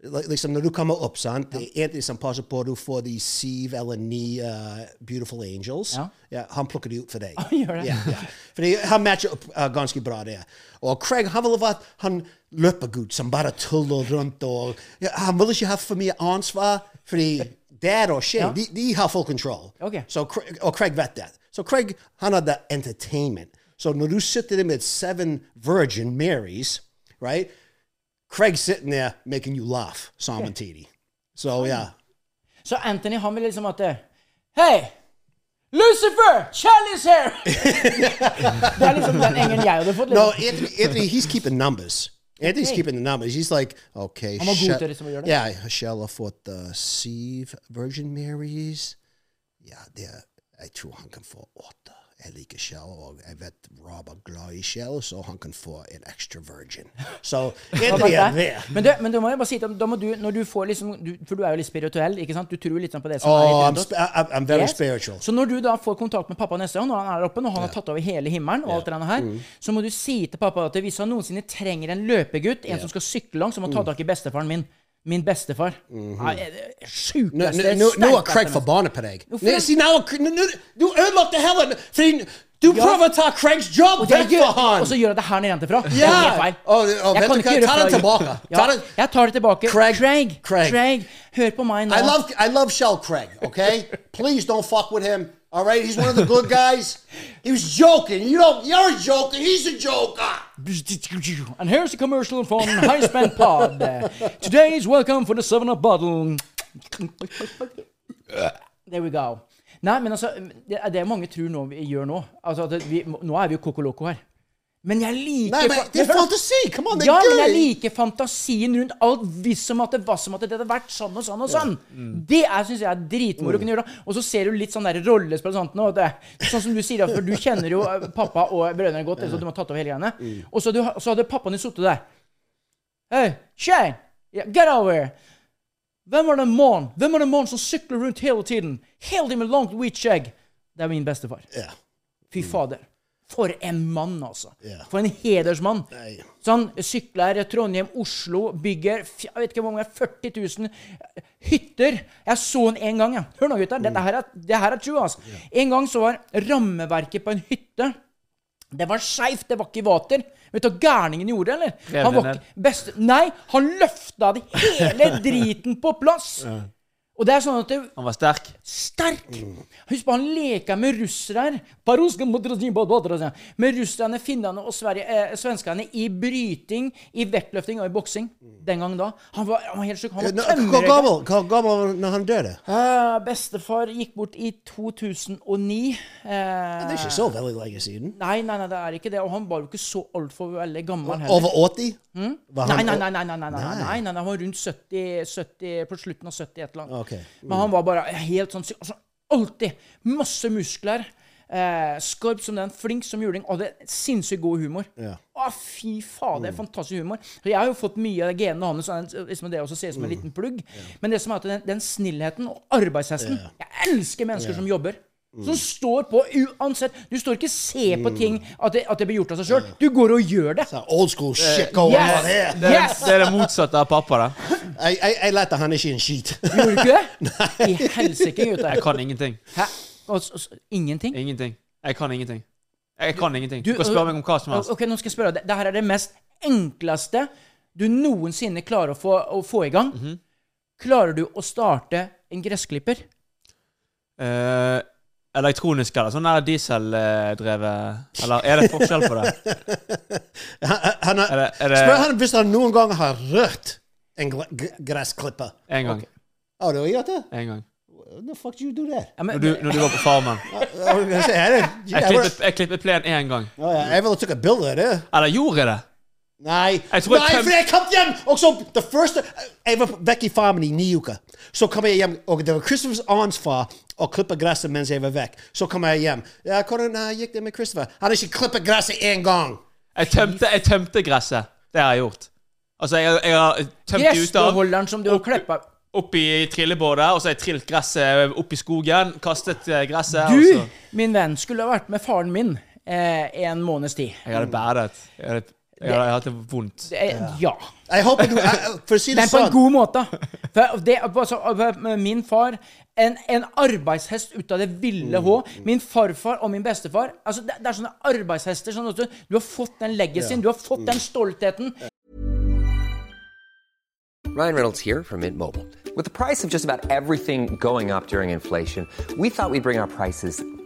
Speaker 3: Li- liksom når du kommer opp, sant? Det er Anthony som passer på at du får de syv eller ni uh, beautiful angels.
Speaker 2: Ja.
Speaker 3: han plukker de ut for deg.
Speaker 2: gjør det?
Speaker 3: Ja, ja. Fordi han matcher opp uh, ganske bra der. Og Craig han ville vært han løpergutt som bare tuller rundt. og ja, Han vil ikke ha for mye ansvar, fordi dad og Shane,
Speaker 2: Ja.
Speaker 3: de, de har full control.
Speaker 2: Ok.
Speaker 3: Så Craig, og oh, Craig vet det. Så Craig han hadde entertainment. Så når du sitter der med seven virgin Marys, right? Craig's sitting there making you laugh, Psalm and TD. So yeah,
Speaker 2: Så Anthony han ville liksom at Hei! Lucifer! Charlie's
Speaker 3: [LAUGHS]
Speaker 2: here! det er liksom den engelen jeg hadde fått. Liksom.
Speaker 3: no, Anthony, Anthony, he's keeping numbers. Anthony's
Speaker 2: Okay.
Speaker 3: keeping the numbers. He's like, okay,
Speaker 2: I'm a good
Speaker 3: shall-
Speaker 2: at it, so you're not.
Speaker 3: yeah, shall I fought the Sieve Virgin Marys? Yeah, they're I tror han kan få åtte. Jeg liker Shell, og jeg vet Rob er glad i Shell, så han kan få en extra virgin.
Speaker 2: [LAUGHS]
Speaker 3: So, Anthony er der.
Speaker 2: Men, du, men du må jeg bare si, da, da må du, når du får liksom, du, for du er jo litt spirituell, ikke sant? Du tror litt sånn på det som
Speaker 3: Oh,
Speaker 2: er
Speaker 3: I'm,
Speaker 2: litt
Speaker 3: sp- I- I'm- I'm very
Speaker 2: Yes.
Speaker 3: spiritual.
Speaker 2: Så når du da får kontakt med pappa neste gang, når han er oppe, når han har tatt over hele himmelen, og alt det der her,
Speaker 3: Mm.
Speaker 2: så må du si til pappa at hvis han noensinne trenger en løpegutt, en som skal sykle langt, så
Speaker 3: Mm.
Speaker 2: må han ta tak i bestefaren min. Min bestefar. Nei, det er sjukeste,
Speaker 3: Mhm. Nå, nå, nå, nå er
Speaker 2: sterkeste
Speaker 3: Craig
Speaker 2: menneske.
Speaker 3: forbanna på deg.
Speaker 2: Hvorfor?
Speaker 3: Nei, si, nå, er Craig- nå, nå, du ødelagte hele Fordi du prøver å ta Craigs jobb
Speaker 2: Jeg
Speaker 3: vekk
Speaker 2: gjør-
Speaker 3: fra han!
Speaker 2: Og så gjør jeg det her nede fra. Det er
Speaker 3: Ja!
Speaker 2: helt feil.
Speaker 3: Å, det- å,
Speaker 2: Jeg kan
Speaker 3: vet du
Speaker 2: ikke
Speaker 3: hva?
Speaker 2: gjøre
Speaker 3: Ta det
Speaker 2: fra-
Speaker 3: tilbake.
Speaker 2: Ja,
Speaker 3: Ta det-
Speaker 2: jeg tar det tilbake.
Speaker 3: Craig.
Speaker 2: Craig.
Speaker 3: Craig.
Speaker 2: Craig, Hør på meg nå.
Speaker 3: I love I love Shell Craig, [LAUGHS] okay? Please don't fuck with him. All right, he's one of the good guys. He was joking. You don't you're a joker, he's a joker.
Speaker 2: And here's a commercial from High Spend Pod. Today's welcome for the Seven Up Bottle. There we go. Nei, men altså, det er det mange tror nå vi gjør nå. Altså, at vi, nå er vi jo Coco Loco her. Men jeg liker
Speaker 3: Nei, men
Speaker 2: fa-
Speaker 3: det er fantasi! Come on, det
Speaker 2: Ja,
Speaker 3: er
Speaker 2: men jeg
Speaker 3: gøy!
Speaker 2: liker fantasien rundt alt. Hvis som at det var som at det hadde vært sånn og sånn og sånn.
Speaker 3: Mm.
Speaker 2: Det er, synes jeg er dritmoro å kunne gjøre. Og så ser du litt sånn der rollespill og sånt nå. at det- Sånn som du sier, da, for du kjenner jo eh, pappa og brødrene godt. Ellers hadde de tatt over hele greiene.
Speaker 3: Mm.
Speaker 2: Og så, hadde du, så hadde pappaen din sittet der. Hey, Shane! Yeah, get over here! Hvem var den mannen Hvem var den mannen som sykler rundt hele tiden? Hele tiden med langt hvitt skjegg? Det er min bestefar.
Speaker 3: Ja.
Speaker 2: Fy
Speaker 4: Mm.
Speaker 2: fader. For en mann, altså. For en hedersmann.
Speaker 3: Nei.
Speaker 2: Så han sykler Trondheim, Oslo, bygger f- jeg vet ikke hvor mange, 40 000 hytter. Jeg så han en gang, jeg. Hør nå, gutter.
Speaker 4: Mm.
Speaker 2: Dette her er, det her er true, altså. En gang så var rammeverket på en hytte det var skeivt, det var ikke i vater. Vet du hva gærningen gjorde, eller?
Speaker 4: Rev
Speaker 2: Han
Speaker 4: det
Speaker 2: var
Speaker 4: ned. [LAUGHS]
Speaker 2: ikke best... Nei, han løfta det hele driten på plass. Og det er sånn at det,
Speaker 4: Han var sterk.
Speaker 2: Sterk!
Speaker 3: Mm.
Speaker 2: Husk på, han leker med russere. her. Paruska modrasin på bådrasin. Med russerne, finnene og Sverige, eh, svenskene i bryting, i vektløfting og i boksing. Den gang da. Han var, han var helt sjuk. Han
Speaker 3: Mm. Nå,
Speaker 2: var
Speaker 3: Hvor
Speaker 2: tømmerrøyker.
Speaker 3: gammel hvor gammel var han når han døde?
Speaker 2: Eh, bestefar gikk bort i 2009. Eh,
Speaker 3: Det er ikke så veldig lenge siden.
Speaker 2: Nei, nei, nei, det er ikke det. Og han var jo ikke så altfor veldig gammel heller.
Speaker 3: Over 80? Var
Speaker 2: Nei,
Speaker 3: han-
Speaker 2: nei, nei, nei, nei, nei, nei, nei,
Speaker 3: Nei.
Speaker 2: nei, nei, han var rundt 70, 70 på slutten av 70 et eller annet.
Speaker 3: Ok.
Speaker 2: Men han var bare helt sånn sy- altså, Alltid! Masse muskler. Eh, skarp som den, flink som juling. Og det er sinnssykt god humor.
Speaker 3: Ja. Mm.
Speaker 2: Å, fy faen, det er fantastisk humor. Så jeg har jo fått mye av genene hans, og den- liksom det også ser ut
Speaker 3: Mm.
Speaker 2: som en liten plugg. Men det som er at den, den snillheten og arbeidshesten Jeg elsker mennesker som jobber.
Speaker 3: Mm.
Speaker 2: Som står på uansett. Du står ikke og ser på ting at det, at det blir gjort av seg sjøl. Du går og gjør det.
Speaker 3: Så Old school shit going
Speaker 2: Yes!
Speaker 3: on here.
Speaker 4: Det er,
Speaker 2: Yes!
Speaker 4: det er det motsatte av pappa. da.
Speaker 3: Jeg, jeg, jeg lærte han ikke en [LAUGHS] skit.
Speaker 2: Gjorde du ikke
Speaker 4: [LAUGHS]
Speaker 2: det? I helsike,
Speaker 4: Jeg
Speaker 2: gutter.
Speaker 4: kan ingenting.
Speaker 2: Hæ? Og, s- og, s- ingenting?
Speaker 4: Ingenting. Jeg kan ingenting. Jeg kan ingenting. Du
Speaker 2: du-
Speaker 4: kan spørre meg om hva som helst.
Speaker 2: Ok, nå skal jeg spørre deg. Dette er det mest enkleste du noensinne klarer å få, å få i gang.
Speaker 4: Mhm.
Speaker 2: Klarer du å starte en gressklipper?
Speaker 4: Eh, elektronisk eller sånn der dieseldrevet Eller er det forskjell på det?
Speaker 3: Han, han,
Speaker 4: Er det, er det
Speaker 3: spør han hvis han noen gang har rørt en gr- gr- gressklipper.
Speaker 4: En gang.
Speaker 3: Har du gjort det?
Speaker 4: En gang.
Speaker 3: The fuck you do that?
Speaker 2: Ja, men-
Speaker 4: Når du, når du var på Farmen.
Speaker 3: I was gonna say, I didn't-
Speaker 4: Jeg
Speaker 3: I
Speaker 4: klippet,
Speaker 3: would-
Speaker 4: jeg klippet plen én gang.
Speaker 3: Oh, yeah, I would took a bilde av det.
Speaker 4: Eller gjorde jeg det?
Speaker 3: Nei,
Speaker 4: Jeg tror jeg
Speaker 3: nei
Speaker 4: tøm-
Speaker 3: for jeg kom hjem! Og så det første Jeg var vekk i farmen i ni uker. Så kom jeg hjem, og det var Christophers ansvar å klippe gresset mens jeg var vekk. Så kom jeg hjem. Ja, hvordan eh, gikk det med Christopher? Han hadde ikke klippet gresset én gang!
Speaker 4: Jeg tømte, jeg tømte gresset. Det har jeg gjort. Altså, jeg, jeg har tømt det ut av
Speaker 2: Gressbeholderen som du har klippa
Speaker 4: opp i trillebåret, og så har jeg trillet gresset opp i skogen, kastet eh, gresset,
Speaker 2: Du,
Speaker 4: og så
Speaker 2: min venn, skulle ha vært med faren min eh, en måneds tid.
Speaker 4: Jeg hadde badet. Jeg hadde, jeg hadde hatt det vondt.
Speaker 2: Det er- Eh, ja.
Speaker 3: Jeg håper du eh, For å si det
Speaker 2: Men på en
Speaker 3: sånn
Speaker 2: god måte. For det, altså, min far en, en arbeidshest ut av det ville
Speaker 3: Mm.
Speaker 2: hå. Min farfar og min bestefar. Altså, det, det er sånne arbeidshester. Sånn at du, du har fått den legacyen, du har fått
Speaker 3: Mm.
Speaker 2: den stoltheten.
Speaker 5: Ryan Reynolds here from Mint Mobile. With the price of just about everything going up during inflation, we thought we'd bring our prices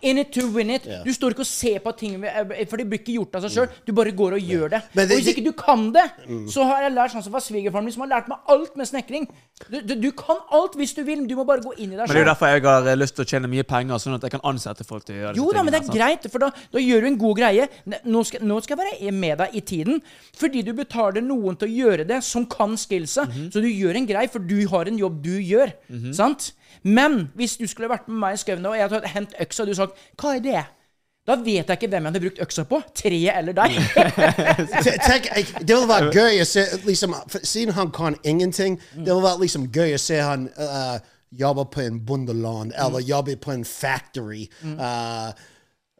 Speaker 2: In it to win it. Du står ikke og ser på ting, eh, for det blir ikke gjort av seg sjøl. Du bare går og gjør det.
Speaker 3: Mm. Men det- Mm.
Speaker 2: og hvis ikke du kan det, så har jeg lært sånn som var svigerfaren min, som har lært meg alt med snekring. Du, du, du kan alt hvis du vil, men du må bare gå inn i deg
Speaker 4: Men det er jo
Speaker 2: sjøl.
Speaker 4: derfor jeg har eh, lyst til å tjene mye penger, sånn at jeg kan ansette folk til å gjøre
Speaker 2: Jo da, men det er
Speaker 4: tingene,
Speaker 2: greit, for da, da gjør du en god greie. Ne- Nå skal, nå skal jeg være med deg i tiden, fordi du betaler noen til å gjøre det som kan skillsa. Så du gjør en grei, for du har en jobb du gjør. Sant? Men hvis du skulle vært med meg i skauen nå, og jeg hadde hentet øksa, og du sagt 'hva er det'? Da vet jeg ikke hvem jeg hadde brukt øksa på. Treet eller [LAUGHS] deg.
Speaker 3: te- tenk, jeg- Det ville vært gøy å se liksom, for Siden han kan ingenting, det ville vært liksom gøy å se han eh, jobbe på en bondeland eller jobbe på en factory. Eh,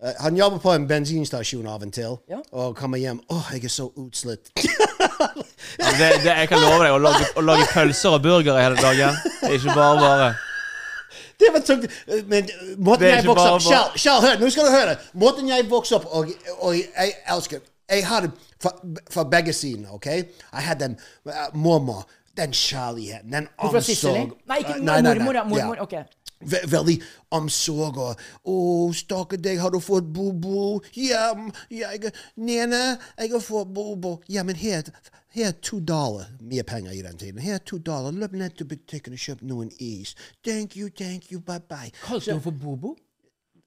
Speaker 3: eh, han jobber på en bensinstasjon av og til
Speaker 2: Ja.
Speaker 3: og kommer hjem Å, jeg er så utslitt.
Speaker 4: Altså. Det, det, jeg kan love deg å lage, å lage pølser og burgere hele dagen. Det er ikke bare bare.
Speaker 3: Det var tungt. Men eh, måten
Speaker 4: Det er
Speaker 3: jeg vokste
Speaker 4: ikke bare-
Speaker 3: opp Kjell, Kjell, hør, nå skal du høre. Måten jeg vokste opp og, og jeg elsker Jeg hadde fra, fra begge sider, OK? Jeg hadde den eh, mormor, den kjærligheten, den
Speaker 2: Fra Sicily.
Speaker 3: omsorg
Speaker 2: Nei, ikke
Speaker 3: Eh,
Speaker 2: mormor. ja,
Speaker 3: ja.
Speaker 2: Mormor, ok.
Speaker 3: Ve veldig omsorg og 'Å, stakkar deg, har du fått bobo?' 'Ja, m- jeg Nene, jeg har fått bobo.' 'Ja, men her, her er to dollar.' Mye penger i den tiden. 'Her er to dollar. Løp ned til butikken og kjøp noen is.' 'Thank you, thank you, bye-bye.'
Speaker 2: Kalte hun for Bobo?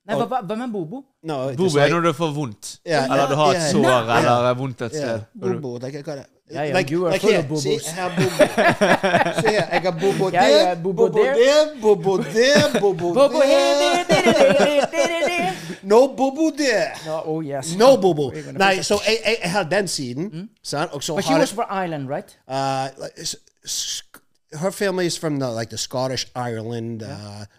Speaker 2: Nei, hva, hva, hvem er Bobo?
Speaker 3: No, it
Speaker 4: Bobo
Speaker 3: like-
Speaker 4: er når du får vondt.
Speaker 3: Yeah,
Speaker 4: eller du har
Speaker 3: yeah,
Speaker 4: et sår
Speaker 3: yeah.
Speaker 4: eller er vondt et
Speaker 3: yeah,
Speaker 4: sted.
Speaker 3: Bobo. Like I got it.
Speaker 2: uh, Yeah, yeah,
Speaker 3: like
Speaker 2: you are
Speaker 3: like
Speaker 2: full
Speaker 3: here,
Speaker 2: of
Speaker 3: See,
Speaker 2: bobos.
Speaker 3: I
Speaker 2: [LAUGHS]
Speaker 3: have bobo. so yeah, I got bobo
Speaker 2: Yeah,
Speaker 3: there,
Speaker 2: yeah, bobo
Speaker 3: bobo there, bobo
Speaker 2: [LAUGHS]
Speaker 3: there, bobo
Speaker 2: Bobo
Speaker 3: there.
Speaker 2: [LAUGHS]
Speaker 3: No bobo there.
Speaker 2: Ja, Oh yes.
Speaker 3: No bobo.
Speaker 2: We're gonna
Speaker 3: Nei,
Speaker 2: put
Speaker 3: så jeg, jeg, jeg har den siden. Sant? Og så
Speaker 2: Hmm? But she
Speaker 3: har
Speaker 2: was
Speaker 3: jeg
Speaker 2: from Ireland, right?
Speaker 3: uh, like, s- s- Her family is from the like the Scottish Ireland, uh,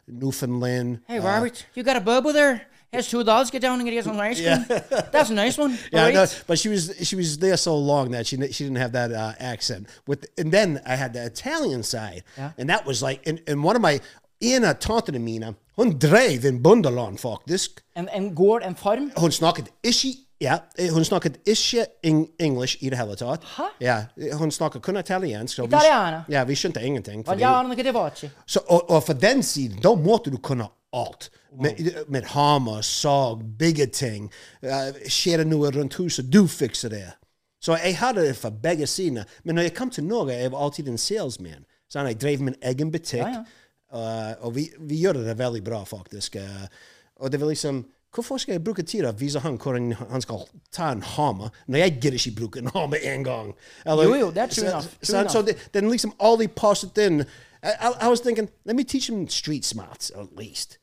Speaker 3: Newfoundland.
Speaker 2: Hey, Robert, you got a Bobo there? Here's two dollars. Get down and get some ice cream.
Speaker 3: [LAUGHS]
Speaker 2: That's a nice one.
Speaker 3: Yeah,
Speaker 2: All
Speaker 3: no,
Speaker 2: right.
Speaker 3: but she was she was there so long that she she didn't have that uh, accent. With and then I had the Italian side, and that was like and, and one of my Anna taunted me now. Hun drev in bundelon folk. This
Speaker 2: And and gård and farm.
Speaker 3: hun snakket ikke ja, eh, hun snakket ikke eng- English i det hele tatt. Ja, eh, hun snakket kun italiensk. så vi-
Speaker 2: Italiana.
Speaker 3: Ja, vi skjønte ingenting. fordi-
Speaker 2: Vagliano che devoci.
Speaker 3: så, og, og for den siden, da måtte du kunne alt. Med, med hammer, sag, bigge ting. eh, skjer det noe rundt huset, du fikser det. Så jeg hadde det for begge sider. Men når jeg kom til Norge, jeg var alltid en salesman. Sånn, jeg drev min egen butikk. eh, og vi, vi gjør det veldig bra, faktisk. eh, og det var liksom Hvorfor skal jeg bruke tid til å vise han hvordan han skal ta en hammer, når jeg gidder ikke bruke en hammer en gang? Eller-
Speaker 2: Jo, jo, det er true
Speaker 3: Så-
Speaker 2: enough, true
Speaker 3: så- så
Speaker 2: enough.
Speaker 3: they, then leave some all the posted in. I, I, I was thinking, let me teach them street smarts at least,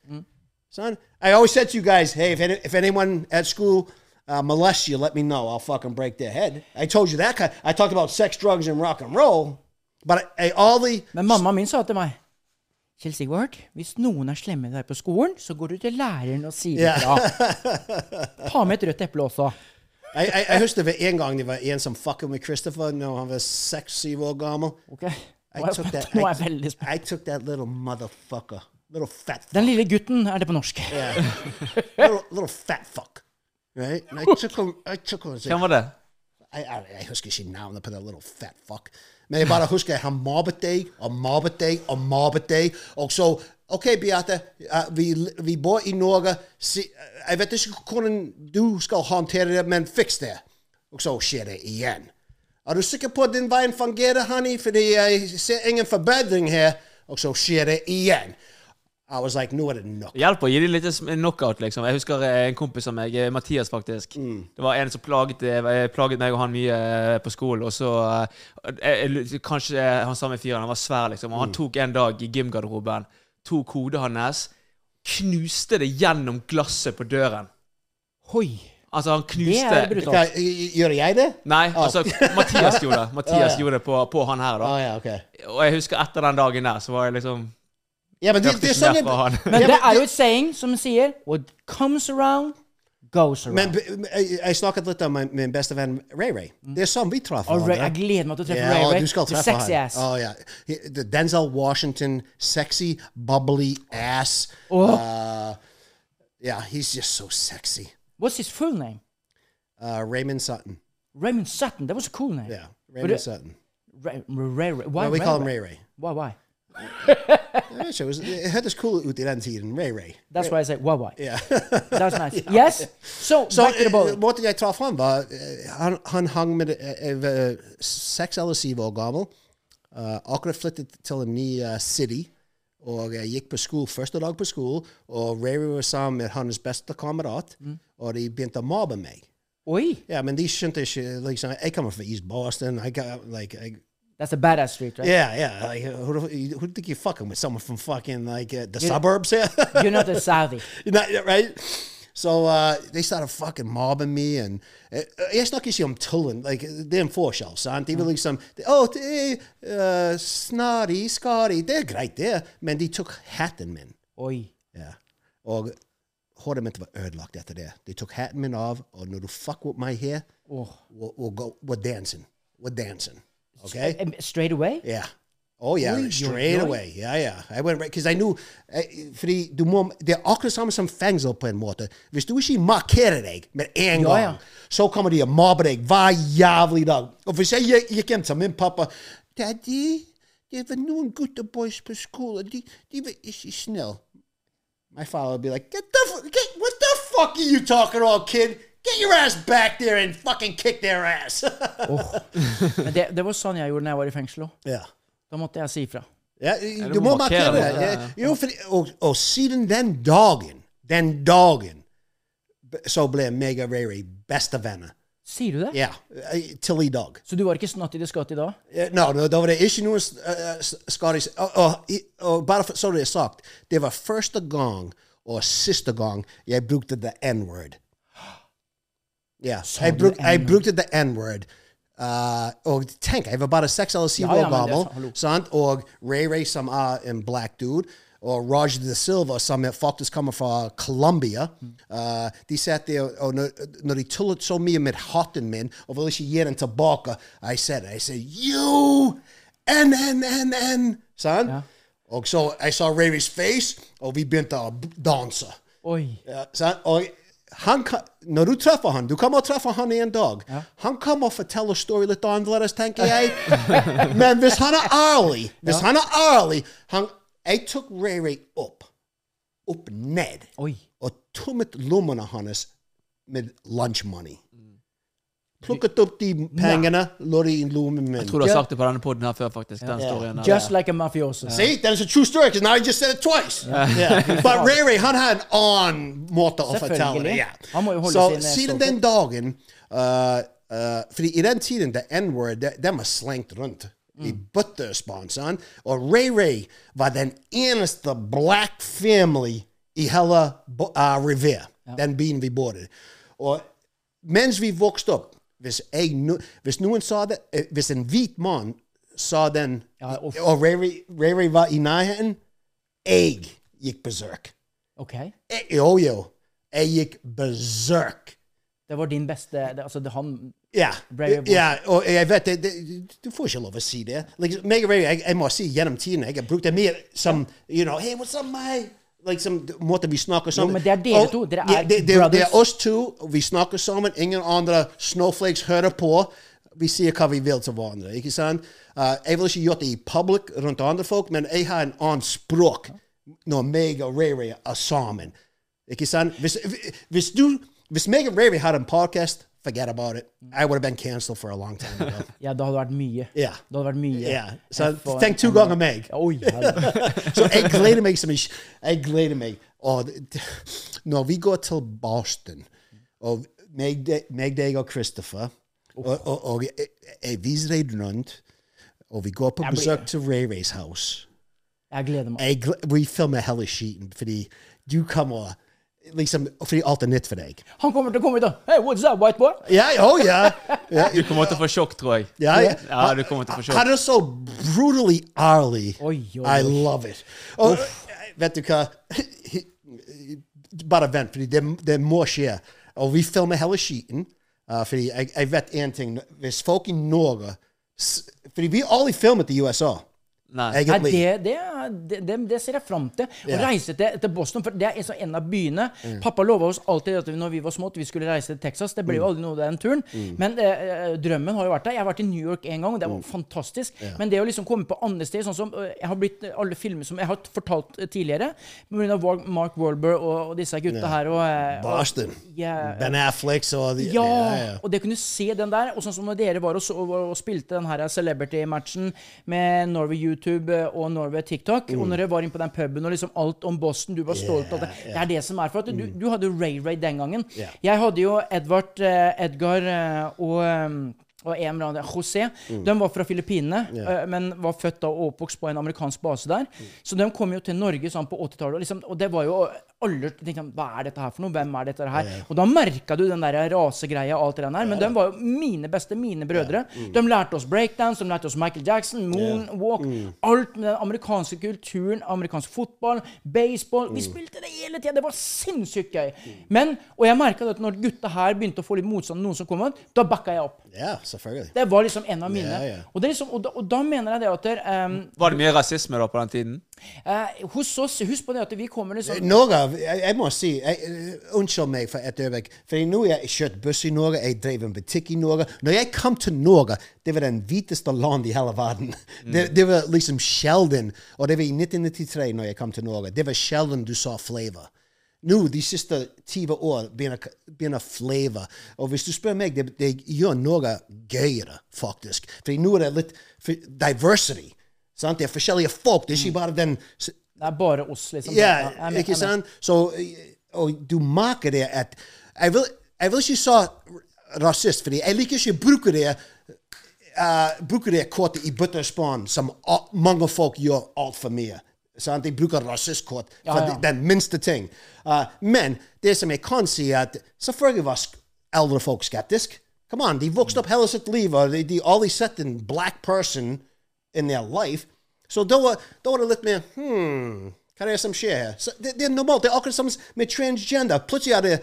Speaker 3: son. I always said to you guys, hey, if any, if anyone at school uh, molests you, let me know. I'll fucking break their head. I told you that. Kind I talked about sex, drugs, and rock and roll, but I, I, all the
Speaker 2: Men mamma min sa til meg Kjell Sigvard, hvis noen er slemme med deg på skolen, så går du til læreren og sier
Speaker 3: Ja.
Speaker 2: ifra.
Speaker 3: [LAUGHS]
Speaker 2: Ta med et rødt eple også.
Speaker 3: I, I, I heard of it. Ian Gong, they were Ian some fucking with Christopher. No, I'm a sexy Wogama.
Speaker 2: Ok?
Speaker 3: I
Speaker 2: Nå er
Speaker 3: took
Speaker 2: jeg,
Speaker 3: that.
Speaker 2: spent. [LAUGHS] nå
Speaker 3: I,
Speaker 2: er jeg veldig spent.
Speaker 3: I took that little motherfucker, little fat,
Speaker 2: Den lille gutten er det på norsk.
Speaker 3: [LAUGHS] little, little fat fuck, right? And I took him. I took him. and said,
Speaker 4: Hvem var det?
Speaker 3: Jeg, jeg, jeg husker ikke navnet på den little fat fuck. Men jeg bare husker han mobbet deg og mobbet deg og mobbet deg. Og så OK, Beate. eh, vi, vi bor i Norge. Si, eh, jeg vet ikke hvordan du skal håndtere det, men fiks det. Og så skjer det igjen. Er du sikker på at din veien fungerer, honey? uh, Fordi jeg ser ingen forbedring her. Og så skjer det igjen. eh, I was like, nå er det nok.
Speaker 4: Hjelp å gi dem litt sm- knockout, liksom. Jeg husker eh, en kompis av meg, eh, Mathias, faktisk.
Speaker 3: Mm.
Speaker 4: Det var en som plaget, eh, plaget meg og han mye eh, på skolen. Og så eh, jeg- jeg- Kanskje eh, han samme fyren, han var svær, liksom.
Speaker 3: Mm.
Speaker 4: Og han tok en dag i gymgarderoben, tok hodet hans, knuste det gjennom glasset på døren.
Speaker 2: Hoi.
Speaker 4: Altså, han
Speaker 2: Det er
Speaker 4: knuste
Speaker 2: brutalt.
Speaker 3: Hva, Gjør jeg det?
Speaker 4: Nei, altså, Mathias gjorde det. Mathias
Speaker 3: ja.
Speaker 4: gjorde det på, på han her,
Speaker 3: Å
Speaker 4: da.
Speaker 3: ja, ok.
Speaker 4: Og jeg husker etter den dagen der, så var jeg liksom
Speaker 3: Ja, men det,
Speaker 4: Hørte
Speaker 3: det er
Speaker 4: ikke
Speaker 3: sånn
Speaker 4: mer
Speaker 3: jeg-
Speaker 4: fra han.
Speaker 2: Men
Speaker 3: Ja,
Speaker 2: det
Speaker 3: men
Speaker 2: er jo et saying som sier What comes around, goes
Speaker 3: Men
Speaker 2: around.
Speaker 3: b- uh, jeg, jeg snakket litt om min, min beste venn Ray Ray. Det er sånn vi traff
Speaker 2: Og Hmm? Oh, Ray, jeg gleder meg til å treffe
Speaker 3: Ja,
Speaker 2: Ray Ray.
Speaker 3: du skal
Speaker 2: The
Speaker 3: treffe
Speaker 2: sexy
Speaker 3: han.
Speaker 2: ass.
Speaker 3: Å, ja. Oh, He- the Denzel Washington, sexy, bubbly ass.
Speaker 2: Oh.
Speaker 3: Uh, yeah, he's just so sexy.
Speaker 2: What's his full name?
Speaker 3: Uh, Raymond Sutton.
Speaker 2: Raymond Sutton. That was a cool name.
Speaker 3: Yeah,
Speaker 2: But, uh,
Speaker 3: Raymond Sutton.
Speaker 2: Ray, Ray, Ray. Why
Speaker 3: No, we call him
Speaker 2: Ray?
Speaker 3: Ray Ray.
Speaker 2: Why, why?
Speaker 3: Jeg vet ikke, det var- det hørtes cool ut i den tiden. Ray Ray.
Speaker 2: That's why I say why, why.
Speaker 3: [LAUGHS] Yeah.
Speaker 2: That's nice. Yes? So,
Speaker 3: Så
Speaker 2: back to the
Speaker 3: eh,
Speaker 2: bowl.
Speaker 3: måten jeg traff han var eh, Han, han hang med eh, jeg var seks eller syv år gammel. Eh, akkurat flyttet til en ny eh, city. Og jeg gikk på skole, første dag på skolen, og Rary var sammen med hans beste kamerat.
Speaker 2: Mm.
Speaker 3: Og de begynte å mobbe meg.
Speaker 2: Oi.
Speaker 3: Ja, men de skjønte ikke liksom, Jeg kommer fra East Boston. I got, like, I,
Speaker 2: That's a badass street, right?
Speaker 3: yeah, yeah. Like, who, do- you- who do you think you're fucking with? Someone from fucking like uh, the suburbs here? [LAUGHS]
Speaker 2: You're not a Saudi.
Speaker 3: You're not yeah, right. So uh, they started fucking mobbing me, and uh, it's not because I'm telling like they're in four shells, son. They really some oh they, uh, snotty, scotty, they're great there, man. They took hatten men,
Speaker 2: Oi.
Speaker 3: yeah, or håret mitt var ødelagt etter det. De tok hatten min av, og når du fuck with my hair, we'll, we'll go, we're dancing. We're dancing. Okay?
Speaker 2: Um, Straight
Speaker 3: [LAUGHS]
Speaker 2: away?
Speaker 3: Yeah. Oh yeah,
Speaker 2: Oi,
Speaker 3: straight
Speaker 2: oi, oi.
Speaker 3: away. Yeah, yeah. I went right because I knew eh, fordi du må, det er akkurat samme som fengsel på en måte. Hvis du ikke markerer deg med en
Speaker 2: Ja, ja.
Speaker 3: gang, så kommer de og mobber deg hver jævlig dag. Og hvis jeg gikk- gikk hjem til min pappa Daddy, det var noen gutteboys på skolen. De, de var ikke snille. My father would be like, "Get the fu- get, what the fuck are you talking about, kid? Get your ass back there and fucking kick their ass." [LAUGHS]
Speaker 2: Men det, det var sånn jeg gjorde når jeg var i fengsel òg.
Speaker 3: yeah.
Speaker 2: Da måtte jeg si ifra.
Speaker 3: Ja,
Speaker 4: du
Speaker 3: du
Speaker 4: må
Speaker 3: må
Speaker 4: markere
Speaker 3: markere
Speaker 4: det.
Speaker 3: det. Jo, fordi- og, og siden oh, den dagen Den dagen b- så ble meg og Rary bestevenner.
Speaker 2: Sier du det?
Speaker 3: Ja, eh, til i dag.
Speaker 2: Så du var ikke snotty the scotty da?
Speaker 3: Eh, No, no, da var det ikke noen uh, skade og, og, oh, i- og bare for, så det er sagt, det var første gang og siste gang jeg brukte the N-word. Ja,
Speaker 2: Sa
Speaker 3: jeg,
Speaker 2: du
Speaker 3: bruk, jeg
Speaker 2: N-word?
Speaker 3: brukte the N-word. Uh, og tenk, jeg var bare seks eller syv
Speaker 2: Ja, ja,
Speaker 3: år
Speaker 2: men det er sant,
Speaker 3: gammel.
Speaker 2: hallo.
Speaker 3: Sant? Og Ray Ray, som er en black dude, og Roger de Silva, som er faktisk kommer fra Colombia uh, De satt der, og når, når de tullet så mye med hatten min og ville ikke gi den tilbake, jeg sa det. Jeg sa You! NNNN! Sant? Og så jeg så Ray Rays face, Oh, og vi begynte å b- danse.
Speaker 2: Oi.
Speaker 3: Ja, sant? Eh, Og han, kan- når du treffer han, du kommer og treffer han en dag. Han kommer og forteller story litt annerledes, tenker jeg. [LAUGHS] Men hvis han er ærlig, hvis han er ærlig han, Jeg tok Ray Ray opp, opp ned,
Speaker 2: Oi.
Speaker 3: og tømmet lommene hans med lunch money.
Speaker 4: Mm.
Speaker 3: Plukket opp de pengene, la de i lommen min.
Speaker 4: Jeg tror du har sagt det på denne poden her før, faktisk. Den storyen der.
Speaker 2: Just like a mafioso.
Speaker 3: See, that is a true story because now I just said it twice. Yeah. But Ray Ray, han had on måte å fortelle det.
Speaker 2: Selvfølgelig.
Speaker 3: Ja.
Speaker 2: Han må jo holde eh,
Speaker 3: Så
Speaker 2: sine
Speaker 3: siden
Speaker 2: stolper.
Speaker 3: den dagen uh, uh, Fordi i den tiden, the N-word, de- den var slengt rundt.
Speaker 2: Mm.
Speaker 3: I bøttesponsoren. Og Ray Ray var den eneste black family i hele Bo- uh, Revere, den byen vi bodde i. Og mens vi vokste opp, hvis, jeg, nu- hvis noen sa det, eh, hvis en hvit mann sa den,
Speaker 2: Ja, uff.
Speaker 3: og Rary, Rary var i nærheten, jeg gikk berserk.
Speaker 2: Ok.
Speaker 3: Jeg- Jo, jo. Jeg gikk oh, berserk.
Speaker 2: Det var din beste det, Altså, det, han
Speaker 3: Ja.
Speaker 2: Rary var-
Speaker 3: ja, og jeg vet det, det Du får ikke lov å si det. Liksom, meg og Rary, jeg, jeg må si gjennom tiden jeg har brukt det mer som you know, Hey, what's up, mate? Liksom, måten vi snakker sammen
Speaker 2: men det er dere
Speaker 3: Og-
Speaker 2: to, dere
Speaker 3: ja,
Speaker 2: er
Speaker 3: det, det, det
Speaker 2: brothers.
Speaker 3: er oss to. Vi snakker sammen. Ingen andre snowflakes hører på. Vi sier hva vi vil til hverandre. ikke sant? Uh, jeg vil ikke gjort det i public rundt andre folk, men jeg har en annen språk når meg og Rary er sammen. Ikke sant? Hvis, hvis, du, hvis meg og Rary hadde en podcast, forget about it. I would have been cancelled for a long time ago.
Speaker 2: Ja, det hadde vært mye.
Speaker 3: Ja.
Speaker 2: Det hadde vært mye.
Speaker 3: yeah. Så
Speaker 2: F og-
Speaker 3: tenk to ganger meg.
Speaker 2: Ja, Oi,
Speaker 3: [LAUGHS]
Speaker 2: herregud.
Speaker 3: Så jeg gleder meg som ikke Jeg gleder meg. Og det- det- når vi går til Boston, og meg, de- meg deg og Christopher Oh, Og, og, og jeg, jeg viser deg rundt, og vi går på
Speaker 2: Jeg blir-
Speaker 3: besøk til Ray Rays house.
Speaker 2: Jeg gleder meg.
Speaker 3: Jeg, gle- vi filmer hele skiten fordi du kommer liksom, Fordi alt er nytt for deg.
Speaker 2: Han kommer til å komme ut og Hey, what's up, white boy?
Speaker 3: Ja, oh, ja. [LAUGHS] ja,
Speaker 4: Du kommer til å få sjokk, tror jeg.
Speaker 3: ja, ja.
Speaker 4: Ja, Ah, du kommer til å få sjokk.
Speaker 3: Han er så brutally ærlig.
Speaker 2: Oi, oi,
Speaker 3: I
Speaker 2: oi.
Speaker 3: love it. Og, vet du [LAUGHS] hva? Bare vent, fordi det, det må skje. Og vi filmer hele skiten. Uh, fordi jeg, jeg vet én ting. Hvis folk i Norge s- Fordi vi aldri filmet i USA.
Speaker 4: Nei.
Speaker 2: Nei,
Speaker 3: Egentlig.
Speaker 2: det, det, er- det, det, det ser jeg fram til. Å reise til, til Boston, for det er så en av byene.
Speaker 3: Mm.
Speaker 2: Pappa lova oss alltid at når vi var små, at vi skulle reise til Texas. Det ble
Speaker 3: Mm.
Speaker 2: jo aldri noe av den turen. Men eh, drømmen har jo vært der. Jeg har vært i New York en gang, og det var
Speaker 3: Mm.
Speaker 2: fantastisk. Men det å liksom komme på andre steder, sånn som eh, jeg har blitt alle filmer som jeg har fortalt eh, tidligere, pga. Mark Wahlberg og, og disse gutta her og, eh,
Speaker 3: Boston.
Speaker 2: og ja,
Speaker 3: Ben Affleck og de-
Speaker 2: ja,
Speaker 3: ja, ja.
Speaker 2: og det kunne se den der. Og sånn som når dere var og, så, og, og spilte den her celebrity-matchen med Norway YouTube eh, og Norway TikTok,
Speaker 3: Mm.
Speaker 2: og når dere var inne på den puben og liksom alt om Boston, du var stolt av det. Det er det som er for at du, du hadde jo Ray Ray den gangen.
Speaker 3: Ja.
Speaker 2: Jeg hadde jo Edvard, eh, Edgar eh, og eh, og en eller annen, José. De var fra Filippinene, eh, men var født da og oppvokst på en amerikansk base der. Så de kom jo til Norge sånn på 80-tallet, og, liksom, og det var jo alle tenkte sånn, Hva er dette her for noe? Hvem er dette her? Og da merka du den der rasegreia og alt det der. Men de var jo mine beste, mine brødre.
Speaker 3: Mm.
Speaker 2: De lærte oss breakdance, de lærte oss Michael Jackson, Moonwalk
Speaker 3: Mm.
Speaker 2: Alt med den amerikanske kulturen, amerikansk fotball, baseball
Speaker 3: Mm.
Speaker 2: Vi spilte det hele tida! Det var sinnssykt gøy. Men, og jeg merka at når gutta her begynte å få litt motstand, noen som kom ut, da backa jeg opp.
Speaker 3: ja, selvfølgelig.
Speaker 2: Det var liksom en av mine.
Speaker 3: Ja, ja.
Speaker 2: Og, det er liksom, og, da, og da mener jeg det at der, ehm,
Speaker 4: Var det mye rasisme da på den tiden?
Speaker 2: eh, Hos oss, husk på det at vi kommer liksom
Speaker 3: Altså, Norge, jeg, jeg må si jeg, eh, Unnskyld meg for et øyeblikk. For nå har jeg kjørt buss i Norge, jeg drev en butikk i Norge. Når jeg kom til Norge, det var den hviteste land i hele verden. Det, det var liksom sjelden. Og det var i 1993 når jeg kom til Norge. Det var sjelden du sa flavor. Nå, de siste 20 år, begynner, begynner flavor. Og hvis du spør meg, det, det gjør Norge gøyere, faktisk. For nå er det litt for, diversity. Sant? Det er forskjellige folk. Det er ikke bare den
Speaker 2: Det er bare oss, liksom.
Speaker 3: ja,
Speaker 2: jeg- jeg-
Speaker 3: ikke
Speaker 2: jeg-
Speaker 3: sant? Så eh, og du merker det at Jeg vil, jeg vil ikke si rasist, fordi jeg liker ikke å bruke det uh, bruker det kortet i butterspann, som a- mange folk gjør altfor mye. Sant? De bruker rasistkort for
Speaker 2: ja.
Speaker 3: de- den minste ting. Uh, men det som jeg kan si, er at selvfølgelig var sk- eldre folk skeptiske. Come on, de vokste opp hele sitt liv, og de, de aldri sett en black person in their life. Så da var, da var det litt mer hmm, hva er det som skjer her? Så det, det er normalt. Det er akkurat som med transgender. Plutselig er det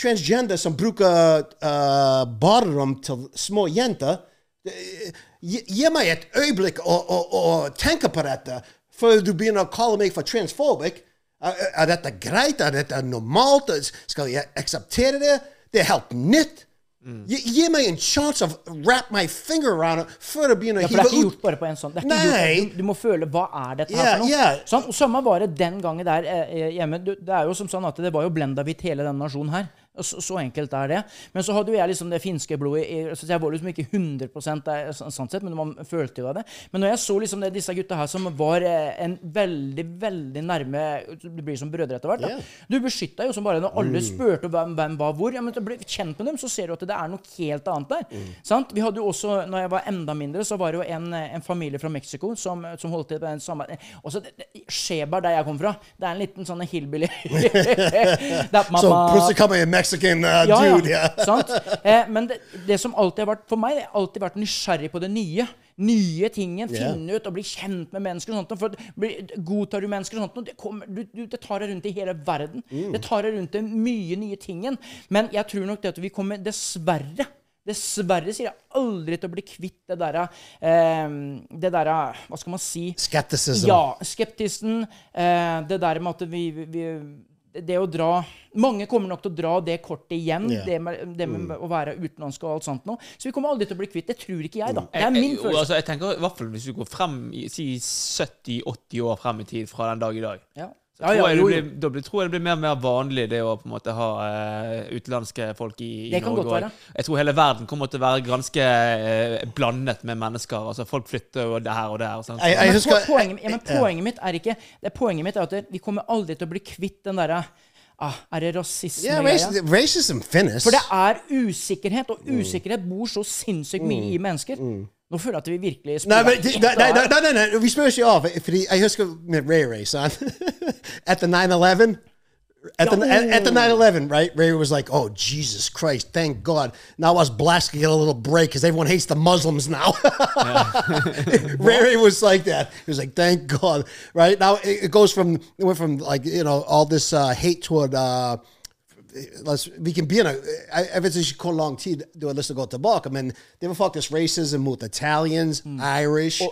Speaker 3: transgender som bruker uh, baderom til små jenter. Eh, Gi gi meg et øyeblikk å, å, å tenke på dette før du begynner å kalle meg for transfobic. Er, er- er dette greit? Er dette normalt? Skal jeg akseptere det? Det er helt nytt. Gi, gi meg en sjanse of wrap my finger around it før jeg begynner
Speaker 2: Ja,
Speaker 3: å
Speaker 2: for det er ikke
Speaker 3: hive
Speaker 2: gjort
Speaker 3: ut
Speaker 2: bare på en sånn. Det er ikke
Speaker 3: Nei.
Speaker 2: gjort, du, du må føle Hva er dette
Speaker 3: Ja,
Speaker 2: her for noe?
Speaker 3: ja.
Speaker 2: Sånn, og samme var det den gangen der eh, hjemme. Du, det er jo som sånn at det var jo blendahvitt hele denne nasjonen her. Og Så, så enkelt er det. Men så hadde jo jeg liksom det finske blodet i så Jeg var liksom ikke 100 der, sånn sånn sett, men man følte jo av det. Men når jeg så liksom det, disse gutta her som var eh, en veldig, veldig nærme Du blir som brødre etter hvert. da.
Speaker 3: Ja.
Speaker 2: Du beskytta jo som bare Når alle spurte hvem, hvem var hvor, ja, men bli kjent med dem, så ser du at det er noe helt annet der. Sant? Vi hadde jo også, når jeg var enda mindre, så var det jo en, en familie fra Mexico som, som holdt til på en samme Også det- det- Skjeberg, der jeg kom fra, det er en liten sånn hillbilly [LAUGHS] That
Speaker 3: Så
Speaker 2: mama-
Speaker 3: plutselig kommer en mexican uh, dude her.
Speaker 2: [LAUGHS] sant? Eh, men det, det som alltid har vært for meg, det har alltid vært nysgjerrig på det nye. Nye tingen.
Speaker 3: Ja.
Speaker 2: Finne ut og bli kjent med mennesker. og sånt. og For at bli- Godtar du mennesker og sånt, og det, kommer, du, du, det tar deg rundt i hele verden.
Speaker 3: Mm.
Speaker 2: Det tar deg rundt i mye nye tingen. Men jeg tror nok det at vi kommer Dessverre. Dessverre sier jeg aldri til å bli kvitt det derre eh, Det derre Hva skal man si?
Speaker 3: Skepticism.
Speaker 2: Ja, skeptisen. Eh, det der med at vi, vi- vi Det å dra Mange kommer nok til å dra det kortet igjen.
Speaker 3: Ja. Mm.
Speaker 2: Det med, det med å være utenlandsk og alt sånt nå. Så vi kommer aldri til å bli kvitt. Det tror ikke jeg, da. Det er
Speaker 4: Jeg-
Speaker 2: min
Speaker 4: jeg- jo,
Speaker 2: følelse.
Speaker 4: Altså, jeg tenker i hvert fall hvis du går frem i si 70-80 år frem i tid fra den dag i dag.
Speaker 2: Ja.
Speaker 4: Så
Speaker 2: Ja,
Speaker 4: tror
Speaker 2: ja,
Speaker 4: jeg,
Speaker 2: jo,
Speaker 4: det
Speaker 2: jo.
Speaker 4: blir, da blir, tror jeg det blir mer og mer vanlig det å på en måte ha eh, utenlandske folk i, i
Speaker 2: Det kan
Speaker 4: Norge.
Speaker 2: godt være.
Speaker 4: også. Jeg tror hele verden kommer til å være ganske eh, blandet med mennesker. Altså Folk flytter jo det her og der. Sant?
Speaker 3: Jeg, jeg
Speaker 2: Men
Speaker 3: husker
Speaker 2: po- poenget, ja, men poenget mitt er ikke det, Poenget mitt er at det- vi kommer aldri til å bli kvitt den derre ah, Er det rasisme?
Speaker 3: Ja,
Speaker 2: greia?
Speaker 3: racism, racism finnes.
Speaker 2: For det er usikkerhet, og
Speaker 3: Mm.
Speaker 2: usikkerhet bor så sinnssykt mye i mennesker. Nå føler jeg at vi virkelig
Speaker 3: Nei, men,
Speaker 2: spiller-
Speaker 3: nei, nei, nei, nei, nei, vi spør ikke av. Fordi jeg husker med Ray Ray, [LAUGHS] sant? Etter 9-11 At the, at, at the 9-11, right? Ray was like, oh, Jesus Christ, thank God. Now us blacks can get a little break because everyone hates the Muslims now. [LAUGHS] Ray Ray was like that. He was like, thank God, right? Now it, it goes from, it went from like, you know, all this uh, hate toward, uh, let's vi kan begynne Jeg jeg vet ikke hvor lang tid du har lyst til å gå tilbake, men det var faktisk racism mot Italians, Irish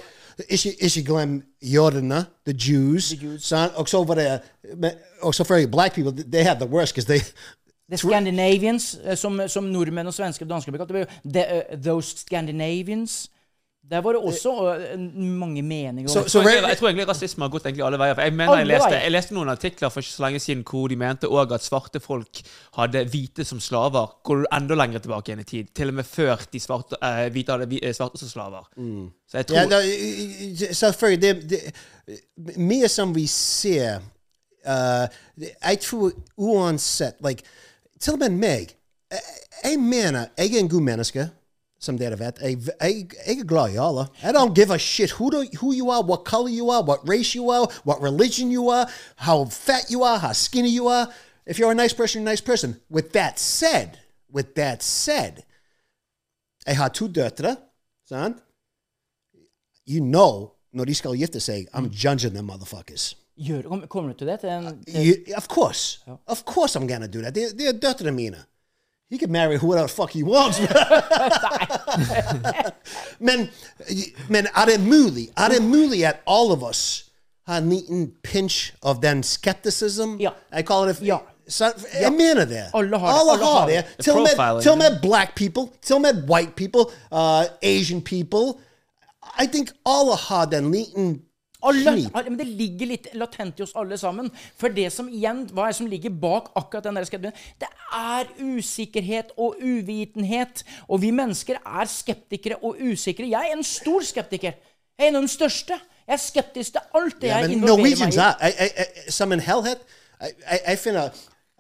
Speaker 3: ikke, ikke glem jødene, the Jews. sant? Og så var det men- Og selvfølgelig black people, they have the worst because they
Speaker 2: The Scandinavians, eh, som, som nordmenn og svensker og dansker blir kalt. Det var jo the, eh, Those Scandinavians. Der var det også eh, mange meninger. om
Speaker 3: Så-
Speaker 2: det.
Speaker 3: så-
Speaker 4: Jeg tror egentlig- jeg tror egentlig rasisme har gått egentlig alle veier. For jeg mener jeg
Speaker 2: Alle
Speaker 4: leste,
Speaker 2: veier.
Speaker 4: jeg leste noen artikler for ikke så lenge siden hvor de mente òg at svarte folk hadde hvite som slaver. Går du enda lenger tilbake igjen i tid? Til og med før de svarte, eh, hvite hadde hvi- eh, svarte som slaver. Så jeg tror
Speaker 3: Ja, da, selvfølgelig. Det, det, mye som vi ser eh, det- Jeg tror uansett like, Til og med meg. Jeg, jeg mener jeg er en god menneske, som dere vet. Jeg, jeg, jeg er glad i alle. I don't give a shit who, do, who you are, what color you are, what race you are, what religion you are, how fat you are, how skinny you are. If you're a nice person, you're a nice person. With that said, with that said, jeg har to døtre, sant? you know, når de skal gifte seg, I'm judging them motherfuckers.
Speaker 2: Gjør, kom- kommer du til det? Til en, til,
Speaker 3: You, of course. Of course I'm gonna do that. They're, they're døtrene mine. He can marry whoever the fuck he wants. men, men er det mulig? Er det mulig at all of us har en liten pinch of den skepticism?
Speaker 2: Ja.
Speaker 3: Jeg kaller det
Speaker 2: Ja.
Speaker 3: Så, jeg mener det.
Speaker 2: Alle har det. Alle har det.
Speaker 3: Til og med,
Speaker 4: Profiling.
Speaker 3: til og med black people, til og med white people, uh, Asian people. I think alle har den liten
Speaker 2: alle,
Speaker 3: knip.
Speaker 2: alle, men det ligger litt latent i oss alle sammen. For det som igjen, hva er det som ligger bak akkurat den der skeptikken? Det er usikkerhet og uvitenhet. Og vi mennesker er skeptikere og usikre. Jeg er en stor skeptiker. Jeg er en av de største. Jeg er skeptisk til alt det
Speaker 3: Ja,
Speaker 2: jeg
Speaker 3: men
Speaker 2: involverer meg i.
Speaker 3: Norwegians er, jeg, jeg, jeg, som en helhet jeg, jeg, jeg finner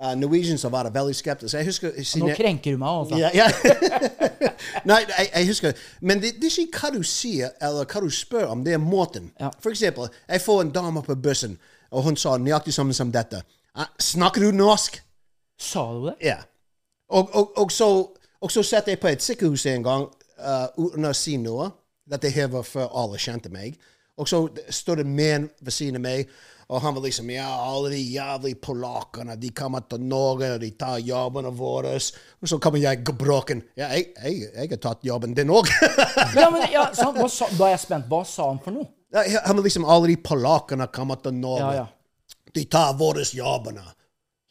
Speaker 3: eh, Norwegian som var veldig skeptisk. Jeg husker
Speaker 2: Nå
Speaker 3: siden jeg-
Speaker 2: krenker du meg. altså. Alfa.
Speaker 3: Ja, ja. Nei, jeg, jeg husker Men det, det er ikke hva du sier, eller hva du spør eh, om, det er måten. For eksempel, jeg får en dame på bussen, og hun sa nøyaktig samme som dette. «Ah, Snakker du norsk?
Speaker 2: Sa du det?
Speaker 3: Ja. Og, og, og, så, og så satt jeg på et sykehus en gang eh, uten å si noe. Dette her var før alle kjente meg. Og så stod en mann ved siden av meg, og han var liksom Ja, alle de jævlige polakkene, de kommer til Norge, og de tar jobbene våre. Og så kommer jeg gebrokken. Ja, jeg, jeg, jeg har tatt jobben din òg. [LAUGHS]
Speaker 2: Ja, men, ja, så han, hva sa, da er jeg spent. Hva sa han for noe?
Speaker 3: han var liksom Alle de polakkene kommer til Norge.
Speaker 2: Ja, ja.
Speaker 3: De tar våre jobbene.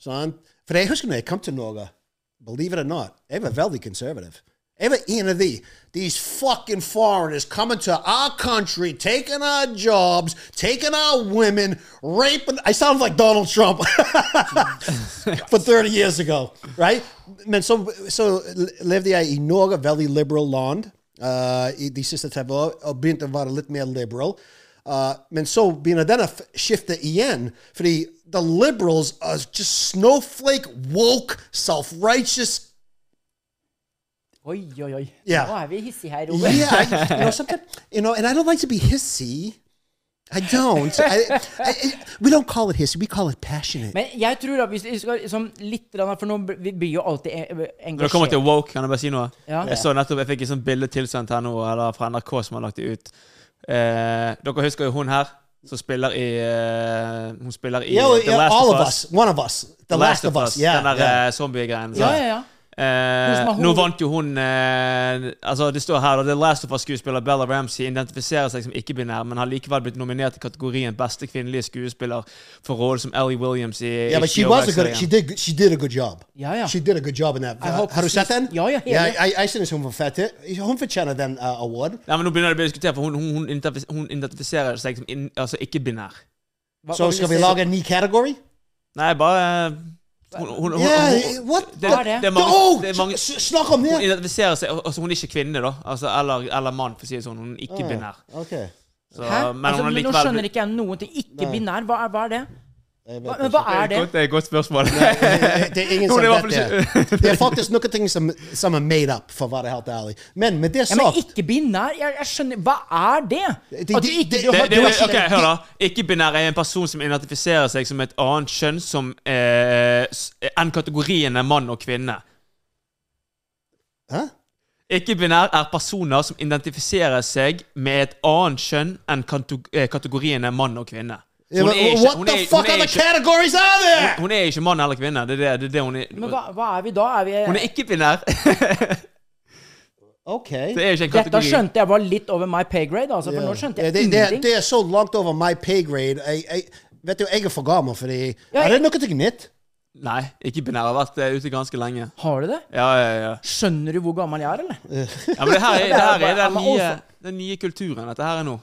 Speaker 3: Sant? For jeg husker når jeg kom til Norge, believe it or not, jeg var veldig konservativ. Jeg var en av de. These fucking foreigners coming to our country, taking our jobs, taking our women, raping. I sound like Donald Trump [LAUGHS] for 30 years ago, right? Men så, så levde jeg i Norge, veldig liberal land, uh, i de siste 30 år, og begynte å være litt mer liberal. Uh, men så begynner denne f- skiftet igjen, fordi the liberals are just snowflake, woke, self-righteous.
Speaker 2: Oi, oi, oi.
Speaker 3: Ja.
Speaker 2: Nå er vi hissige her, Ove.
Speaker 3: Yeah, I, you know, sometimes, you know, and I don't like to be hissy. I don't. I, I, I, we don't call it hissy. We call it passionate.
Speaker 2: Men jeg tror da, hvis vi skal liksom litt grann, For nå blir- vi blir jo alltid en-
Speaker 4: Når det kommer til
Speaker 2: engasjert.
Speaker 4: woke, kan jeg bare si noe?
Speaker 2: Ja.
Speaker 4: Jeg så nettopp, jeg fikk et sånt bilde tilsendt her nå eller fra NRK som har lagt det ut. Eh, dere husker jo hun her, som spiller i eh, Hun spiller i
Speaker 3: yeah,
Speaker 4: The
Speaker 3: yeah,
Speaker 4: Last
Speaker 3: all
Speaker 4: of Us.
Speaker 3: One of us. The, last, of us. Yeah.
Speaker 4: Den der
Speaker 3: yeah.
Speaker 4: eh, zombie-greien.
Speaker 2: Ja, ja, ja. Hun som
Speaker 4: Eh,
Speaker 2: har
Speaker 4: nå
Speaker 2: hoved-
Speaker 4: vant jo hun eh, Altså Det står her da The Last of Us-skuespiller Bella Ramsey identifiserer seg som ikke-binær, men har likevel blitt nominert i kategorien beste kvinnelige skuespiller for rollen som Ellie Williams i
Speaker 3: Yeah, but she
Speaker 4: HBO
Speaker 3: was a good.
Speaker 4: -serien.
Speaker 3: She did. She did a good job.
Speaker 2: Yeah, yeah.
Speaker 3: She did a good job in that.
Speaker 2: I hope
Speaker 3: Har du
Speaker 2: she's-
Speaker 3: sett den?
Speaker 2: Ja, ja, hele.
Speaker 3: Yeah, I, I seen hun forfatter. Hun fortjener den uh, award.
Speaker 4: Nei, men Nå begynner det å bli diskutert, for hun, hun, hun, identif- hun identifiserer seg som inn- altså ikke-binær.
Speaker 2: Hva- hva
Speaker 3: Så
Speaker 2: vil
Speaker 3: skal
Speaker 2: du
Speaker 3: vi
Speaker 2: si?
Speaker 3: lage en ny kategori?
Speaker 4: Nei, bare eh, hun, hun, hun,
Speaker 3: Yeah,
Speaker 4: hun,
Speaker 3: what?
Speaker 4: det,
Speaker 2: Hva er det?
Speaker 4: det er mange,
Speaker 3: oh,
Speaker 4: det er mange
Speaker 3: s- snakk om
Speaker 4: Hun [LAUGHS]
Speaker 3: det!
Speaker 4: identifiserer seg altså Hun er ikke kvinne, da. Altså, eller, eller mann, for å si det sånn. Hun er ikke-binær.
Speaker 3: Ok.
Speaker 4: Så,
Speaker 2: Hæ?
Speaker 4: men
Speaker 2: Altså,
Speaker 4: hun er
Speaker 2: men nå
Speaker 4: likevel
Speaker 2: skjønner ikke jeg noen ting. Ikke binær, hva er, hva er det?
Speaker 3: Jeg vet
Speaker 2: Hva,
Speaker 3: ikke.
Speaker 2: men hva er det?
Speaker 4: Det er et godt spørsmål.
Speaker 3: Det er ingen som
Speaker 4: Hun er i hvert
Speaker 3: vet
Speaker 4: fall ikke-
Speaker 3: det. Det er faktisk noen ting som, som er made up, for å være helt ærlig. Men med det
Speaker 2: Ja, men
Speaker 3: sagt
Speaker 2: ikke binær? Jeg, jeg skjønner Hva er det?
Speaker 3: Det- det-
Speaker 2: At du ikke
Speaker 3: det-
Speaker 2: du har,
Speaker 4: det, det,
Speaker 2: du har,
Speaker 4: ok, hør da. Ikke-binær er en person som identifiserer seg som et annet kjønn som, eh, s- enn kategoriene mann og kvinne.
Speaker 3: Hæ?
Speaker 4: Ikke-binær er personer som identifiserer seg med et annet kjønn enn kato- eh, kategoriene mann og kvinne.
Speaker 3: Yeah,
Speaker 4: Så hun
Speaker 3: but
Speaker 4: er ikke-
Speaker 3: What
Speaker 4: hun
Speaker 3: the
Speaker 4: er-
Speaker 3: fuck
Speaker 4: hun er
Speaker 3: other
Speaker 4: ikke-
Speaker 3: categories are there?
Speaker 4: Hun er ikke mann eller kvinne. Det er det, det, er det hun er.
Speaker 2: men hva, hva er vi da? Er vi,
Speaker 4: Hun er [LAUGHS] ikke-binær.
Speaker 3: Ok.
Speaker 4: Det er ikke en
Speaker 2: dette
Speaker 4: kategori.
Speaker 2: skjønte jeg var litt over my pay grade, altså, for nå skjønte
Speaker 3: Ja,
Speaker 2: jeg
Speaker 3: det, det,
Speaker 2: ingenting.
Speaker 3: det er så langt over my pay grade. Jeg, jeg, vet du, jeg er for gammel, fordi
Speaker 2: Ja,
Speaker 3: Er det
Speaker 2: jeg-
Speaker 3: noe ting nytt?
Speaker 4: Nei, ikke-binær har vært eh, ute ganske lenge.
Speaker 2: Har du det?
Speaker 4: Ja, ja, ja.
Speaker 2: Skjønner du hvor gammel jeg er, eller?
Speaker 4: ja men det her er, det her er den,
Speaker 2: Men
Speaker 4: nye,
Speaker 2: også-
Speaker 4: den nye kulturen, dette her er nå.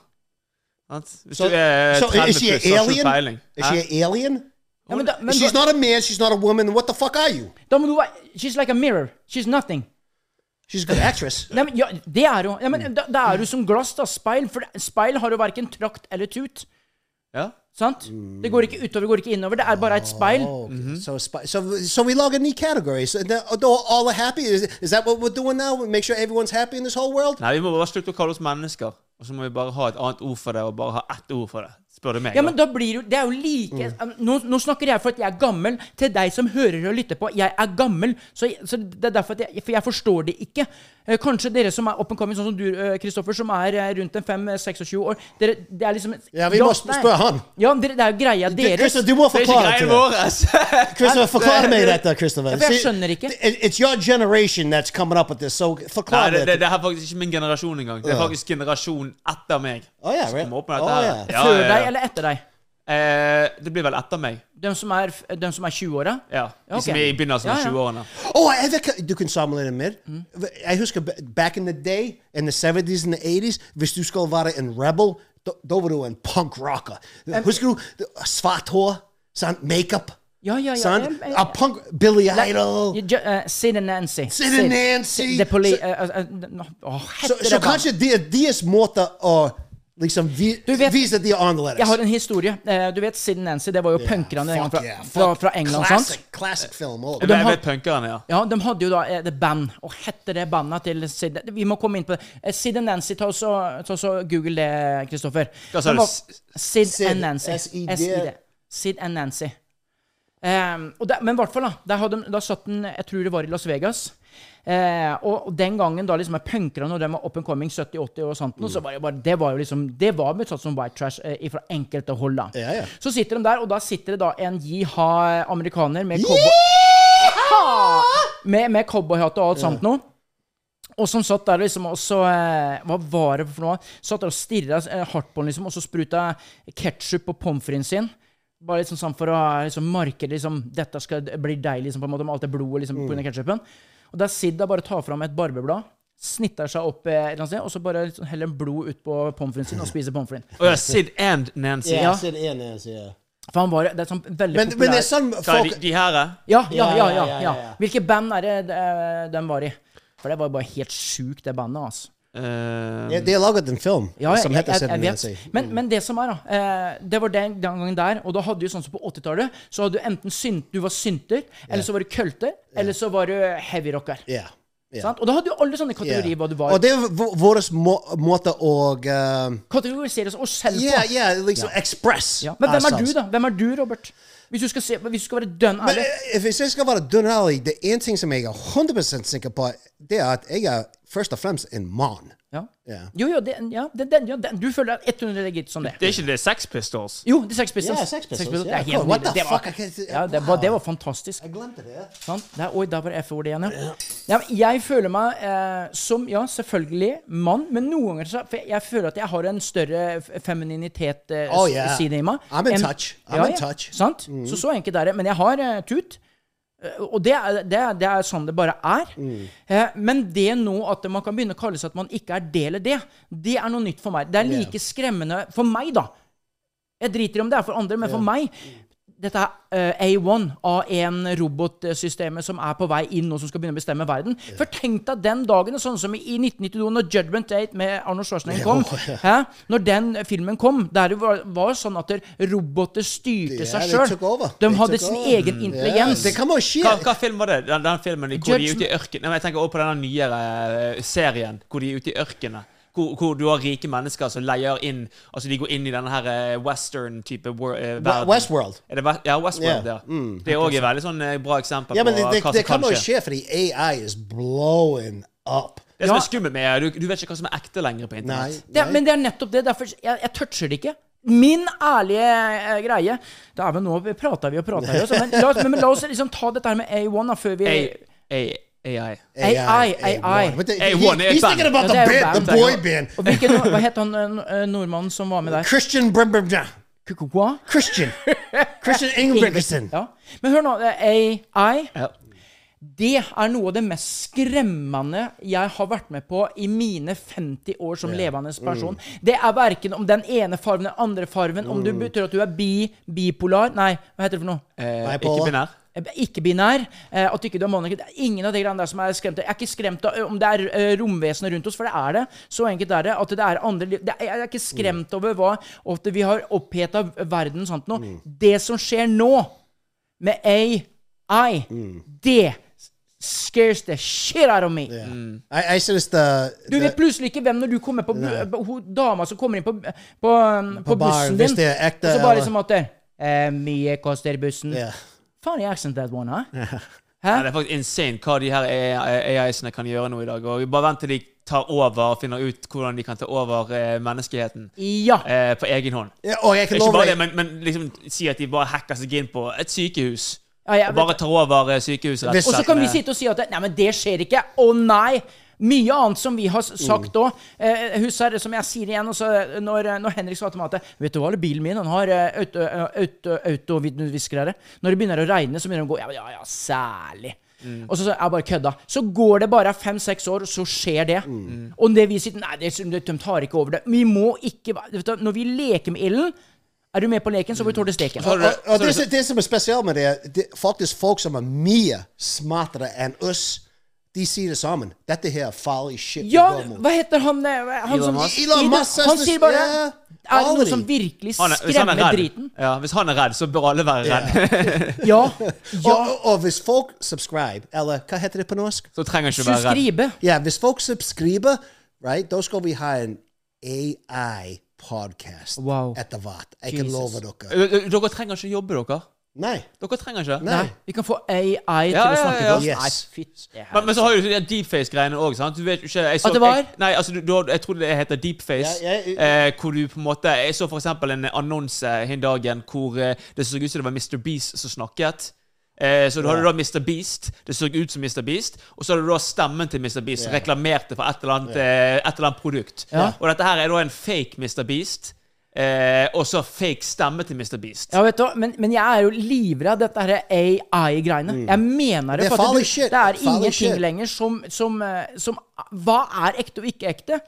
Speaker 4: Sant? Hvis
Speaker 3: Så-
Speaker 4: du er
Speaker 3: så
Speaker 4: 30
Speaker 3: is she
Speaker 4: pluss, har du ikke
Speaker 3: alien?
Speaker 4: peiling.
Speaker 3: Is
Speaker 4: Hæ?
Speaker 3: she an alien?
Speaker 2: Ja, men da, men
Speaker 3: she's
Speaker 2: da,
Speaker 3: not a man, she's not a woman. What the fuck are you?
Speaker 2: da må du være She's like a mirror. She's nothing.
Speaker 3: She's a good actress.
Speaker 2: Nei, men, ja, det er jo ja,
Speaker 3: Mm.
Speaker 2: men, da, da er du som glass, da. Speil. For det- speil har jo verken trakt eller tut.
Speaker 4: Ja?
Speaker 2: Sant? Det går ikke utover, går ikke innover. Det er bare et speil.
Speaker 3: Okay, so, spi- so, so we log a new category. So the, although all are happy, is, is that what we're doing now? We make sure everyone's happy in this whole world?
Speaker 4: Nei, vi må bare slutte å kalle oss mennesker. Og så må vi bare ha et annet ord for det, og bare ha ett ord for det. Spør du meg.
Speaker 2: Ja, men
Speaker 4: da.
Speaker 2: da blir jo Det er jo like
Speaker 3: Mm.
Speaker 2: um, nå, nå snakker jeg for at jeg er gammel, til deg som hører og lytter på. Jeg er gammel, så, så det er derfor at jeg For jeg forstår det ikke. Eh, Kanskje dere som er up and coming, sånn som du, eh, Kristoffer, som er eh, rundt en 5-26 år dere, Det er liksom
Speaker 3: Ja, vi må
Speaker 2: nei.
Speaker 3: spørre han.
Speaker 2: Ja, dere, det er jo greia deres.
Speaker 3: Christopher, du må
Speaker 4: Det er ikke
Speaker 3: forklare til
Speaker 4: greien
Speaker 3: det.
Speaker 4: vår! ass.
Speaker 3: Christopher, forklare meg dette, Christopher.
Speaker 2: Ja, for jeg
Speaker 3: See,
Speaker 2: skjønner ikke.
Speaker 3: it- It's your generation that's coming up with this, so
Speaker 4: Nei,
Speaker 3: forklare
Speaker 4: det, det,
Speaker 3: dette.
Speaker 4: det her er faktisk ikke min generasjon engang. Det er faktisk generasjon etter meg.
Speaker 3: Å, ja,
Speaker 4: som
Speaker 3: vel.
Speaker 4: kommer opp med
Speaker 3: Å,
Speaker 4: dette her.
Speaker 3: ja.
Speaker 4: Ja,
Speaker 2: Før
Speaker 4: ja, ja.
Speaker 2: deg eller etter deg?
Speaker 4: Eh, det blir vel etter meg.
Speaker 2: De som er, f- de som er 20-åra?
Speaker 4: Ja. De
Speaker 2: ok.
Speaker 4: som er i begynnelsen
Speaker 2: Ja,
Speaker 4: av
Speaker 2: ja.
Speaker 4: 20-årene.
Speaker 3: Oh, jeg vet hva- du kan samle det med.
Speaker 2: Hmm?
Speaker 3: Jeg husker ba- back in the day, in the 70s and the 80s, hvis du skulle være en rebel, da, da var du en punk rocker. Husker du du- svart hår, sant? Makeup,
Speaker 2: Ja, ja, ja.
Speaker 3: sant?
Speaker 2: Em, em,
Speaker 3: A punk, Billy Idol.
Speaker 2: Ja, Ju- eh, Sid and Nancy.
Speaker 3: Sid and Nancy.
Speaker 2: The poli...
Speaker 3: Så-
Speaker 2: eh, eh, eh, nå- Åh,
Speaker 3: Så,
Speaker 2: heter
Speaker 3: så
Speaker 2: det hva?
Speaker 3: kanskje det er deres måte å liksom vi,
Speaker 2: Du vet-
Speaker 3: vise at de er on the letters.
Speaker 2: Jeg har en historie. Eh, Du vet Sid Nancy, det var jo punkerne den gangen fra,
Speaker 3: Fuck yeah, fuck.
Speaker 2: fra, fra England. sant?
Speaker 3: Classic, classic film. all of it.
Speaker 4: Jeg vet punkerne, ja.
Speaker 2: Ja, de hadde jo da eh, det band, og hette det bandet til Sid Vi må komme inn på det. Eh, Sid and Nancy, ta oss og ta oss og google det, Kristoffer.
Speaker 4: Hva sa
Speaker 2: De
Speaker 4: du?
Speaker 2: var-
Speaker 4: S-
Speaker 2: Sid
Speaker 3: Sid,
Speaker 2: and Nancy.
Speaker 3: SID.
Speaker 2: SID. Sid and Nancy. Ehm, og der, men i hvert fall, da. Der hadde, de- da satt den Jeg tror det var i Las Vegas. Eh, og og den gangen, da liksom er punkerne og de var up and coming 70-80 og sånt, noe,
Speaker 3: Mm.
Speaker 2: så var det bare Det var jo liksom Det var mye sånn som white trash eh, fra enkelte hold, da.
Speaker 3: Ja, ja.
Speaker 2: Så sitter de der, og da sitter det da en jiha amerikaner med cowboy med, med cowboyhatt og alt sånt noe. Og som satt der liksom, og så eh, Hva var det for noe? Satt der og stirra eh, hardt på den, liksom, og så spruta ketsjup på pommes fritesen sin. Bare liksom sånn for å liksom, markere liksom, dette skal bli deilig, liksom, på en måte, med alt det blodet liksom, på grunn av
Speaker 3: Mm.
Speaker 2: ketsjupen. Og der Sid da bare tar fram et barbeblad, snitter seg opp eh, et eller annet sted, og så bare liksom, heller blod ut på pommes fritesen sin og spiser pommes fritesen.
Speaker 4: Å ja, Sid and Nancy.
Speaker 3: Ja,
Speaker 2: Ja.
Speaker 3: Sid and Nancy, ja.
Speaker 2: For han var det er sånn veldig
Speaker 3: Men, men
Speaker 2: populær.
Speaker 3: det er sånn
Speaker 4: Hva er
Speaker 3: folk
Speaker 4: de, de her, eh?
Speaker 2: Ja, ja, ja. ja,
Speaker 3: Ja, ja,
Speaker 2: ja,
Speaker 3: ja, ja, ja.
Speaker 2: Hvilke band er det eh, de var i? For det var jo bare helt sjukt, det bandet, altså.
Speaker 4: Eh,
Speaker 3: Ja, De har laget en film
Speaker 2: Ja, jeg,
Speaker 3: som
Speaker 2: jeg,
Speaker 3: heter
Speaker 2: jeg,
Speaker 3: Sid and
Speaker 2: jeg vet.
Speaker 3: Nancy.
Speaker 2: Men, men det som er, da eh, Det var den, den gangen der, og da hadde du sånn som på 80-tallet, så hadde du enten synt, du var synter, eller så var du kølte, eller så var du heavy rocker.
Speaker 3: Ja. ja.
Speaker 2: Sant? Og da hadde du alle sånne
Speaker 3: Ja.
Speaker 2: kategorier hva du var.
Speaker 3: Og det er vå- vår må måte å eh,
Speaker 2: Kategoriseres oss selv
Speaker 3: Ja,
Speaker 2: på.
Speaker 3: ja, liksom express.
Speaker 2: Ja. Men hvem er
Speaker 3: ourselves.
Speaker 2: du, da? Hvem er du, Robert? Hvis du skal, se, hvis du skal være dønn
Speaker 3: Men
Speaker 2: ærlig.
Speaker 3: eh, hvis jeg skal være dønn ærlig, det er én ting som jeg er 100 sikker på, det er at jeg er først og fremst en mann.
Speaker 2: Ja.
Speaker 3: Ja.
Speaker 2: Jo, jo, det, ja, det, det, ja det, du føler deg 100 legit som det.
Speaker 4: det er ikke det Sex Pistols.
Speaker 2: Jo, det er Sex Pistols.
Speaker 3: Ja, Sex Pistols,
Speaker 2: Det
Speaker 3: ja,
Speaker 2: er
Speaker 3: cool.
Speaker 2: helt
Speaker 3: What
Speaker 2: nydelig.
Speaker 3: the
Speaker 2: Det var-
Speaker 3: fuck, I can't-
Speaker 2: Ja, det, var, det var fantastisk.
Speaker 3: Jeg glemte det.
Speaker 2: Sant? Der, oi, der var det F-ordet igjen, ja. ja. men Jeg føler meg eh, som, ja, selvfølgelig mann, men noen ganger så for jeg, jeg føler at jeg har en større f- femininitet eh,
Speaker 3: Oh, yeah.
Speaker 2: s- side i meg.
Speaker 3: I'm in
Speaker 2: enn-
Speaker 3: touch. I'm in touch. Mm.
Speaker 2: Sant? Så så enkelt er det. Men jeg har eh, tut. Eh, Og det er, det, er, det er sånn det bare er.
Speaker 3: Mm.
Speaker 2: Eh, men det nå at man kan begynne å kalle seg at man ikke er del av det, det er noe nytt for meg. Det er like skremmende for meg, da. Jeg driter i om det er for andre, men for meg dette er eh, A1, A1-robotsystemet som er på vei inn og som skal begynne å bestemme verden. For tenk deg den dagen, sånn som i 1992, når Judgment Date med Arnold Schwarzenegger kom.
Speaker 3: [LAUGHS]
Speaker 2: Hæ? Når den filmen kom, der det var, var sånn at roboter styrte
Speaker 3: Ja,
Speaker 2: seg
Speaker 3: they took
Speaker 2: sjøl.
Speaker 3: over.
Speaker 2: De
Speaker 3: They
Speaker 2: hadde
Speaker 3: took
Speaker 2: sin
Speaker 3: over.
Speaker 2: egen
Speaker 3: Mm.
Speaker 2: intelligens.
Speaker 3: Ja, Det kan man skje.
Speaker 4: Hva, hva film var det? Den, den filmen hvor de er ute i
Speaker 2: Judgment-
Speaker 4: ørkenen? Nei, men Jeg tenker også på denne nyere eh, serien hvor de er ute i ørkenen. Hvor, hvor du har rike mennesker som leier inn Altså de går inn i denne her eh, western-type wor- eh, verden.
Speaker 3: Westworld.
Speaker 4: Er det West, ja, Westworld,
Speaker 3: Ja, Mm,
Speaker 4: ja. Det er òg et veldig sånn eh, bra eksempel
Speaker 3: Ja, men
Speaker 4: på
Speaker 3: det, det,
Speaker 4: hva
Speaker 3: det
Speaker 4: som
Speaker 3: kan
Speaker 4: kan
Speaker 3: man
Speaker 4: skje.
Speaker 3: skje, fordi AI is blowing up.
Speaker 4: Det som er skummelt med er, du, du vet ikke hva som er ekte lenger på
Speaker 3: Nei.
Speaker 4: internett.
Speaker 2: Det, men det er nettopp det. Derfor, jeg, jeg toucher det ikke. Min ærlige eh, greie Det er vel nå vi prater vi og prater vi. Også, men, la, oss- men, men la oss liksom ta dette her med A1 da, før vi
Speaker 4: A, A, AI.
Speaker 2: AI, AI.
Speaker 3: But the-
Speaker 4: AI,
Speaker 3: he-
Speaker 4: one,
Speaker 3: he's
Speaker 4: band.
Speaker 3: thinking
Speaker 2: Ja, det
Speaker 3: about the
Speaker 2: er jo
Speaker 3: band, the
Speaker 2: band.
Speaker 3: boy band.
Speaker 2: Og hvilken, hva het han eh, nordmannen som var med der?
Speaker 3: Christian Brim Brim Brim.
Speaker 2: Kukukwa? [LAUGHS]
Speaker 3: Christian. Christian Ingebrigtsen.
Speaker 2: Ja. Men hør nå, eh, AI,
Speaker 4: Ja.
Speaker 2: det er noe av det mest skremmende jeg har vært med på i mine 50 år som levende person. Det er verken om den ene farven eller den andre farven, om du betyr at du er bi, bipolar Nei, hva heter det for noe?
Speaker 4: Eh,
Speaker 3: Bipolar.
Speaker 4: ikke binær.
Speaker 2: Eh, Ikke-binær. eh, At du ikke du er monarki. Det er ingen av de greiene der som er skremt. Jeg er ikke skremt av om det er eh, romvesenet rundt oss, for det er det. Så enkelt er det. At det er andre liv. Det er, jeg er ikke
Speaker 3: Mm.
Speaker 2: skremt over hva og at vi har oppheta verden og sånt nå.
Speaker 3: Mm.
Speaker 2: Det som skjer nå, med AI,
Speaker 3: Mm.
Speaker 2: det scares the shit out of me.
Speaker 3: I, I synes the,
Speaker 2: Du er
Speaker 3: the-
Speaker 2: vet plutselig ikke hvem når du kommer på bu- bu- hun dama som kommer inn på, på, på,
Speaker 3: baren,
Speaker 2: bussen din.
Speaker 3: hvis det er ekte,
Speaker 2: og så bare
Speaker 3: eller-
Speaker 2: liksom at eh, Mye koster bussen.
Speaker 3: Yeah.
Speaker 2: Faen, jeg accent that one, hæ?
Speaker 4: Ja, det er faktisk insane hva de her AI-ene kan gjøre nå i dag. Og Bare vent til de tar over og finner ut hvordan de kan ta over eh, menneskeheten
Speaker 2: Ja.
Speaker 4: eh, på egen hånd.
Speaker 3: Ja, og jeg kan
Speaker 4: Ikke
Speaker 3: love
Speaker 4: bare
Speaker 3: deg-
Speaker 4: det, men, men liksom si at de bare hacker seg inn på et sykehus.
Speaker 2: Ja, jeg
Speaker 4: og
Speaker 2: vet
Speaker 4: bare tar over eh, sykehuset. rett
Speaker 3: Hvis-
Speaker 2: Og så
Speaker 4: slett, Eh,
Speaker 2: kan vi
Speaker 4: med-
Speaker 2: sitte og si at Nei, men det skjer ikke. Å nei! Mye annet som vi har s- sagt
Speaker 4: Mm.
Speaker 2: òg. Eh, husk her, som jeg sier igjen også, når, når Henrik sa til meg at Vet du hva, bilen min den har eh, auto- eh, auto- autovidviskere. Når det begynner å regne, så begynner de å gå. Ja, men ja, ja, særlig.
Speaker 4: Mm.
Speaker 2: Og så, så jeg bare kødda. Så går det bare fem-seks år, så skjer det.
Speaker 4: Mm.
Speaker 2: Og det vi sitter Nei, det, de tar ikke over det. Vi må ikke være- vet du, Når vi leker med ilden, er du med på leken, så får vi tåle steken.
Speaker 4: Har du det?
Speaker 3: Og det, som- det som er spesielt med det, er det faktisk folk som er mye smartere enn oss. De sier det sammen. Dette her er farlig shit. vi
Speaker 2: Ja,
Speaker 3: går mot.
Speaker 2: hva heter han, eh, han som,
Speaker 4: Elon Musk.
Speaker 3: Elon
Speaker 2: Ida-
Speaker 3: Musk,
Speaker 2: Han
Speaker 3: søster-
Speaker 2: sier bare
Speaker 3: ja,
Speaker 2: Er det
Speaker 3: aldri.
Speaker 2: noe som virkelig
Speaker 4: Han er, hvis han er
Speaker 2: skremmer
Speaker 3: [LAUGHS]
Speaker 4: redd,
Speaker 2: driten?
Speaker 4: ja, hvis han er redd, så bør alle være redd. [LAUGHS]
Speaker 2: Ja.
Speaker 3: Og,
Speaker 2: ja.
Speaker 3: og, og hvis folk subscribe, eller hva heter det på norsk?
Speaker 4: Så trenger han ikke å være redd.
Speaker 2: Suskribe.
Speaker 3: Ja, hvis folk subscriber, right, da skal vi ha en AI-podcast
Speaker 2: Wow.
Speaker 3: etter hvert. Jeg kan
Speaker 2: Jesus.
Speaker 3: love dere.
Speaker 4: Ø- ø- Dere trenger ikke å jobbe, dere.
Speaker 3: Nei.
Speaker 4: Dere trenger ikke.
Speaker 3: Nei.
Speaker 2: Vi kan få AI til
Speaker 4: Ja,
Speaker 2: å
Speaker 4: ja,
Speaker 2: snakke
Speaker 4: ja,
Speaker 2: til
Speaker 3: ja.
Speaker 2: oss.
Speaker 3: Yes.
Speaker 2: Nei, fytti
Speaker 4: Men, men så har jo de deepface-greiene òg. At
Speaker 2: At det var?
Speaker 4: Jeg, nei, altså, du, du, har- jeg tror det heter deepface.
Speaker 3: Ja, jeg-
Speaker 4: eh, hvor du på en måte Jeg så for eksempel en annonse den dagen hvor eh, det så ut som det var Mr. Beast som snakket. Eh, så du hadde da Mr. Beast. Det så ut som Mr. Beast. Og så hadde du da stemmen til Mr. Beast som reklamerte for et eller annet, eh, et eller annet produkt. Og dette her er da en fake Mr. Beast. Eh, og så fake stemme til Mr. Beast.
Speaker 2: Ja, vet du, hva, men, men jeg er jo livredd dette her AI-greiene. Jeg mener det.
Speaker 3: Mm. Det er
Speaker 2: for at
Speaker 3: farlig
Speaker 2: du,
Speaker 3: shit.
Speaker 2: Det er
Speaker 3: Farlig
Speaker 2: ingenting
Speaker 3: shit.
Speaker 2: lenger som, som, eh, som Hva er ekte og ikke ekte?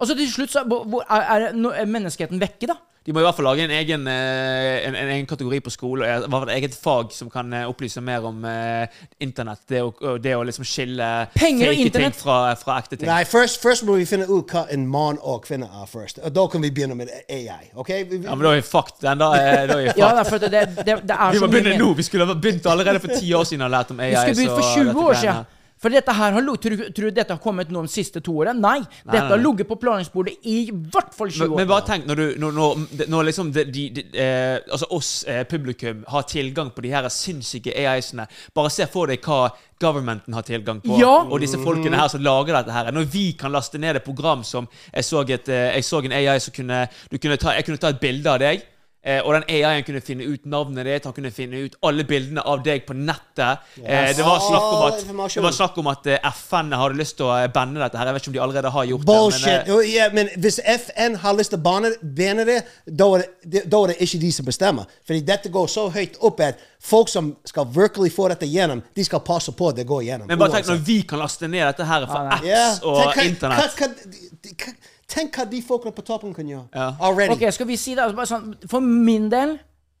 Speaker 2: Altså Til slutt så hvor, hvor- er, er no, er menneskeheten vekke, da.
Speaker 4: De må i hvert fall lage en egen, eh, en, en egen kategori på skole, og i hvert fall et eget fag som kan eh, opplyse mer om eh, internett. Det å, og det å liksom skille
Speaker 2: Penger og
Speaker 4: fake ting
Speaker 2: internett.
Speaker 4: fra, fra ekte ting.
Speaker 3: Nei, først, først må vi finne ut hva en mann og kvinne er først. Og da kan vi begynne med AI. ok? Vi, vi,
Speaker 4: Ja, men da er vi fucked. Den da, er- da er vi
Speaker 2: Ja,
Speaker 4: fucked.
Speaker 2: det er for at det, det, det er
Speaker 4: vi
Speaker 2: så
Speaker 4: må
Speaker 2: mye
Speaker 4: begynne
Speaker 2: mer-
Speaker 4: nå! Vi skulle ha begynt allerede for ti år siden og lært om AI.
Speaker 2: Vi skulle begynt
Speaker 4: så
Speaker 2: for 20
Speaker 4: dette
Speaker 2: år
Speaker 4: greiene her.
Speaker 2: siden. For dette her har, lo- tror, tror du dette har kommet nå de siste to årene? Nei.
Speaker 4: nei,
Speaker 2: dette har
Speaker 4: nei.
Speaker 2: ligget på planleggingsbordet i hvert fall 20
Speaker 4: Men,
Speaker 2: år.
Speaker 4: men bare tenk, når, du, når, når, når liksom de, de, de, eh, altså oss, eh, publikum, har tilgang på de her sinnssyke AIs-ene Bare se for deg hva governmenten har tilgang på,
Speaker 2: Ja.
Speaker 4: og disse folkene her som lager dette her. Når vi kan laste ned et program som Jeg så, et, eh, jeg så en AI som kunne, du kunne ta, Jeg kunne ta et bilde av deg. eh, Og den AI-en kunne finne ut navnet ditt, han kunne finne ut alle bildene av deg på nettet. Eh, Det var snakk om
Speaker 3: All
Speaker 4: at,
Speaker 3: informasjon.
Speaker 4: det var snakk om at eh, FN hadde lyst til å eh, banne dette her. Jeg vet ikke om de allerede har gjort det.
Speaker 3: Bullshit. Oh,
Speaker 4: men, eh,
Speaker 3: Jo, Ja, men hvis FN har lyst til å bane bane det, da er det, da er det ikke de som bestemmer. Fordi dette går så høyt opp at folk som skal virkelig få dette gjennom, de skal passe på at det går gjennom.
Speaker 4: Men bare tenk
Speaker 3: Uansett.
Speaker 4: når vi kan laste ned dette her fra apps
Speaker 3: Ja,
Speaker 4: og
Speaker 3: hva-
Speaker 4: internett.
Speaker 3: Hva, hva, de- de- hva, tenk hva de folkene på toppen kan gjøre.
Speaker 4: Ja.
Speaker 3: Already.
Speaker 2: Ok, skal vi si det? Altså, bare sånn, for min del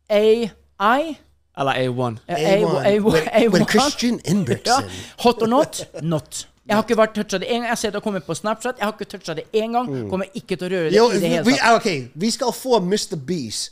Speaker 2: AI
Speaker 4: Eller A1.
Speaker 2: eh,
Speaker 3: A1,
Speaker 2: A1,
Speaker 3: with-
Speaker 2: A1.
Speaker 3: with Christian
Speaker 2: [LAUGHS]
Speaker 3: Inbrigtsen.
Speaker 2: Ja. Hot or not? Not. Jeg har ikke vært toucha det en gang. Jeg ser det har kommet på Snapchat. Jeg har ikke toucha det en gang. Kommer ikke til å røre det
Speaker 3: Jo,
Speaker 2: i det hele
Speaker 3: Mm. vi,
Speaker 2: tatt.
Speaker 3: ok, vi skal få Mr. Beast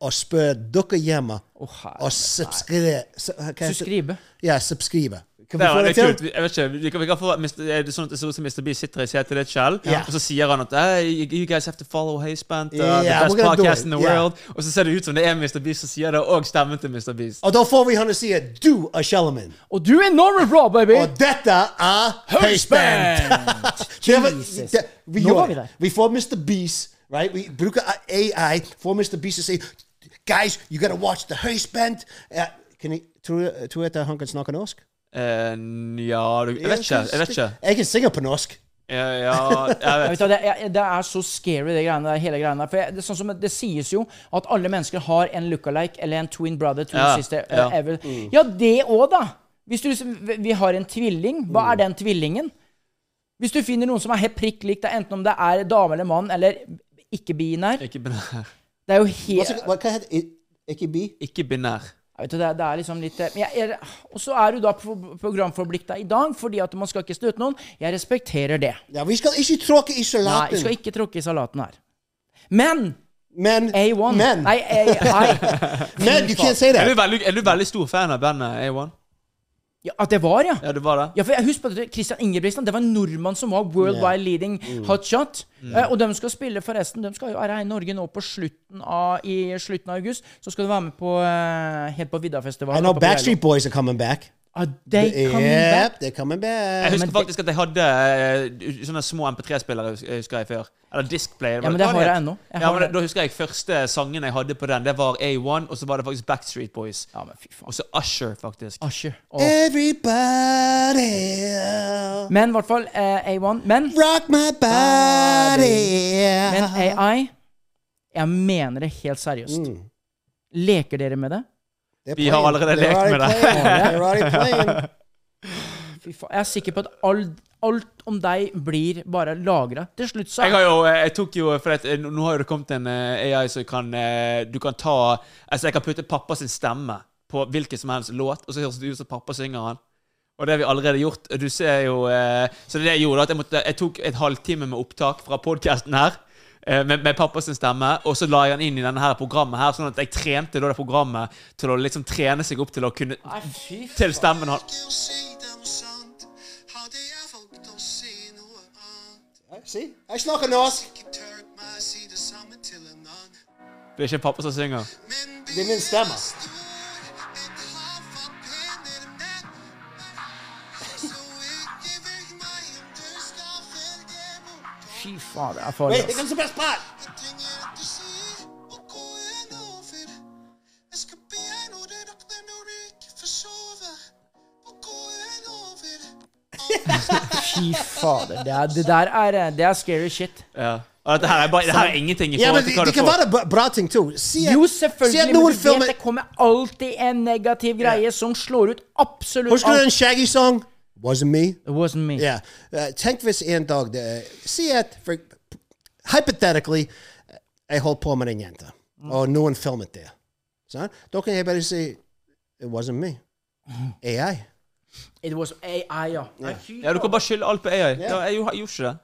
Speaker 3: og spørre dere hjemme
Speaker 2: Oh,
Speaker 3: og subscribe.
Speaker 2: Subscribe.
Speaker 3: Ja, subscribe. Kan
Speaker 4: Det
Speaker 3: vi få
Speaker 4: var
Speaker 3: det
Speaker 4: litt kult.
Speaker 3: til?
Speaker 4: Vi- Jeg vet ikke, vi kan, vi kan få Mr. er det sånn at det ser ut som Mr. B sitter i setet ditt selv,
Speaker 3: Ja.
Speaker 4: og så sier han at hey, you- you guys have to follow Haysbant, uh,
Speaker 3: Yeah,
Speaker 4: the best
Speaker 3: we're gonna do
Speaker 4: podcast
Speaker 3: it.
Speaker 4: in the
Speaker 3: Yeah.
Speaker 4: world. Og så ser det ut som det er Mr. Beast som sier det, og stemmen til Mr. Beast.
Speaker 3: Og da får vi han til å si at du er Shellerman.
Speaker 2: Og du er enormt bra, baby!
Speaker 3: Og dette er høyspent!
Speaker 2: [LAUGHS]
Speaker 3: Det var-
Speaker 2: Jesus.
Speaker 3: det- vi
Speaker 2: Nå var
Speaker 3: gjorde
Speaker 2: vi
Speaker 3: det.
Speaker 2: der.
Speaker 3: Vi får Mr. Beast, right? Vi bruker uh, AI, får Mr. Beast til å si Guys, you gotta watch the Uh, høyspent. Ja, kan jeg- Tror du- tror du at han kan snakke norsk?
Speaker 4: Eh, ja du, Jeg vet ikke. Jeg vet ikke.
Speaker 3: Jeg kan synge på norsk.
Speaker 4: Ja, ja, jeg
Speaker 2: Vet
Speaker 4: vet.
Speaker 2: du hva, det, er- det er så scary, det greiene der, hele greiene der. For jeg, det, er sånn som, det sies jo at alle mennesker har en lookalike eller en twin brother, twin
Speaker 4: Ja,
Speaker 2: sister. eh,
Speaker 4: ja. Mm.
Speaker 2: ever. ja det òg, da! Hvis du, vi har en tvilling. Hva
Speaker 4: Mm.
Speaker 2: er den tvillingen? Hvis du finner noen som er helt prikk lik deg, enten om det er dame eller mann, eller ikke binær
Speaker 4: Ikke binær.
Speaker 2: Det er jo
Speaker 3: Hva
Speaker 2: helt
Speaker 3: så- Hva hva heter det? Ikke bi?
Speaker 4: Ikke binær.
Speaker 2: Jeg vet, du, det, er, det er liksom litt eh, men jeg, er- Og så er du da pro- programforplikta i dag, fordi at man skal ikke støte noen. Jeg respekterer det.
Speaker 3: Ja, vi skal ikke tråkke i
Speaker 2: Nei, jeg
Speaker 3: salaten.
Speaker 2: skal ikke tråkke i salaten her. Men
Speaker 3: Men,
Speaker 2: A1
Speaker 3: men,
Speaker 2: Nei, AI.
Speaker 3: [LAUGHS] men, you can't say
Speaker 4: Er du,
Speaker 3: that.
Speaker 4: veldig, er du veldig stor fan av bandet A1?
Speaker 2: Ja, at det var, ja.
Speaker 4: Ja, du var det?
Speaker 2: Ja, for jeg husker på det, Christian Ingebrigtsen, det var en nordmann som var worldwide leading
Speaker 3: Mm.
Speaker 2: hotshot. Eh, og de skal spille, forresten, de skal jo være her i Norge nå på slutten av, i slutten av august. Så skal du være med på eh, helt på
Speaker 3: I
Speaker 2: Viddafestivalen.
Speaker 3: know
Speaker 2: oppe på
Speaker 3: Backstreet Boys are coming back.
Speaker 2: Geilo. Ah, they come
Speaker 3: Yep,
Speaker 2: back.
Speaker 3: they're coming back.
Speaker 4: Jeg husker
Speaker 2: Eh, men det-
Speaker 4: faktisk at jeg hadde eh, sånne små MP3-spillere hus- eh, husker jeg før. Eller display.
Speaker 2: Ja, men det har jeg ennå. Jeg
Speaker 4: Ja,
Speaker 2: har
Speaker 4: men da,
Speaker 2: det.
Speaker 4: da husker jeg første sangen jeg hadde på den. Det var A1, og så var det faktisk Backstreet Boys.
Speaker 2: Ja, men fy faen.
Speaker 4: Og så Usher, faktisk.
Speaker 2: Asje. Åh.
Speaker 3: Eh. Everybody else.
Speaker 2: Men i hvert fall eh, A1. Men,
Speaker 3: rock my
Speaker 2: men
Speaker 3: [LAUGHS] body.
Speaker 2: AI Jeg mener det helt seriøst.
Speaker 3: Mm.
Speaker 2: Leker dere med det?
Speaker 4: Vi har allerede lekt med det.
Speaker 3: They're already playing.
Speaker 2: Fy faen. Jeg er sikker på at alt, alt om deg blir bare lagra. Til slutt så
Speaker 4: Jeg har jo, eh, jeg tok jo, for at, eh, nå har jo det kommet en eh, AI som kan eh, Du kan ta Altså, jeg kan putte pappa sin stemme på hvilken som helst låt, og så høres det ut som pappa synger den. Og det har vi allerede gjort. Du ser jo eh, Så det jeg gjorde, at jeg, måtte, jeg tok et halvtime med opptak fra podkasten her. eh, Med, med pappas stemme, og så la jeg den inn i denne her programmet. her Sånn at jeg trente da det programmet til å liksom trene seg opp til å kunne
Speaker 2: Nei, fy faen.
Speaker 4: Til stemmen hans.
Speaker 3: See? Jeg snakker norsk.
Speaker 4: Det er ikke pappa som synger.
Speaker 3: Det er min stemme.
Speaker 2: Fy faen, det er
Speaker 3: [LAUGHS] Wait,
Speaker 2: farlig.
Speaker 3: here comes the best part.
Speaker 2: Fy fader. Det, er, det der er, eh, det er scary shit.
Speaker 4: Ja. Og dette her er, bare, det her er ingenting i
Speaker 3: Ja, men
Speaker 4: forhold
Speaker 3: det,
Speaker 4: til hva
Speaker 3: det kan
Speaker 4: du får.
Speaker 3: være bra- bra ting, too. uh, Si at,
Speaker 2: Jo,
Speaker 3: si at
Speaker 2: selvfølgelig, men
Speaker 3: noen
Speaker 2: du vet
Speaker 3: filmer
Speaker 2: det kommer alltid en negativ greie som slår ut absolutt
Speaker 3: Husker du den
Speaker 2: alt.
Speaker 3: Shaggy-song? Wasn't me.
Speaker 2: It wasn't me.
Speaker 3: Ja. Eh, tenk hvis en dag det er Si at for, Hypothetically, eh, jeg holdt på med en jente, og noen filmet det. Sant? Da kan jeg bare si It wasn't me. AI.
Speaker 2: It was AI, ja. Nei, fy
Speaker 4: Ja, Du kan
Speaker 2: faen.
Speaker 4: bare skylde alt på AI. Ja, jeg gjorde gjorde ikke det.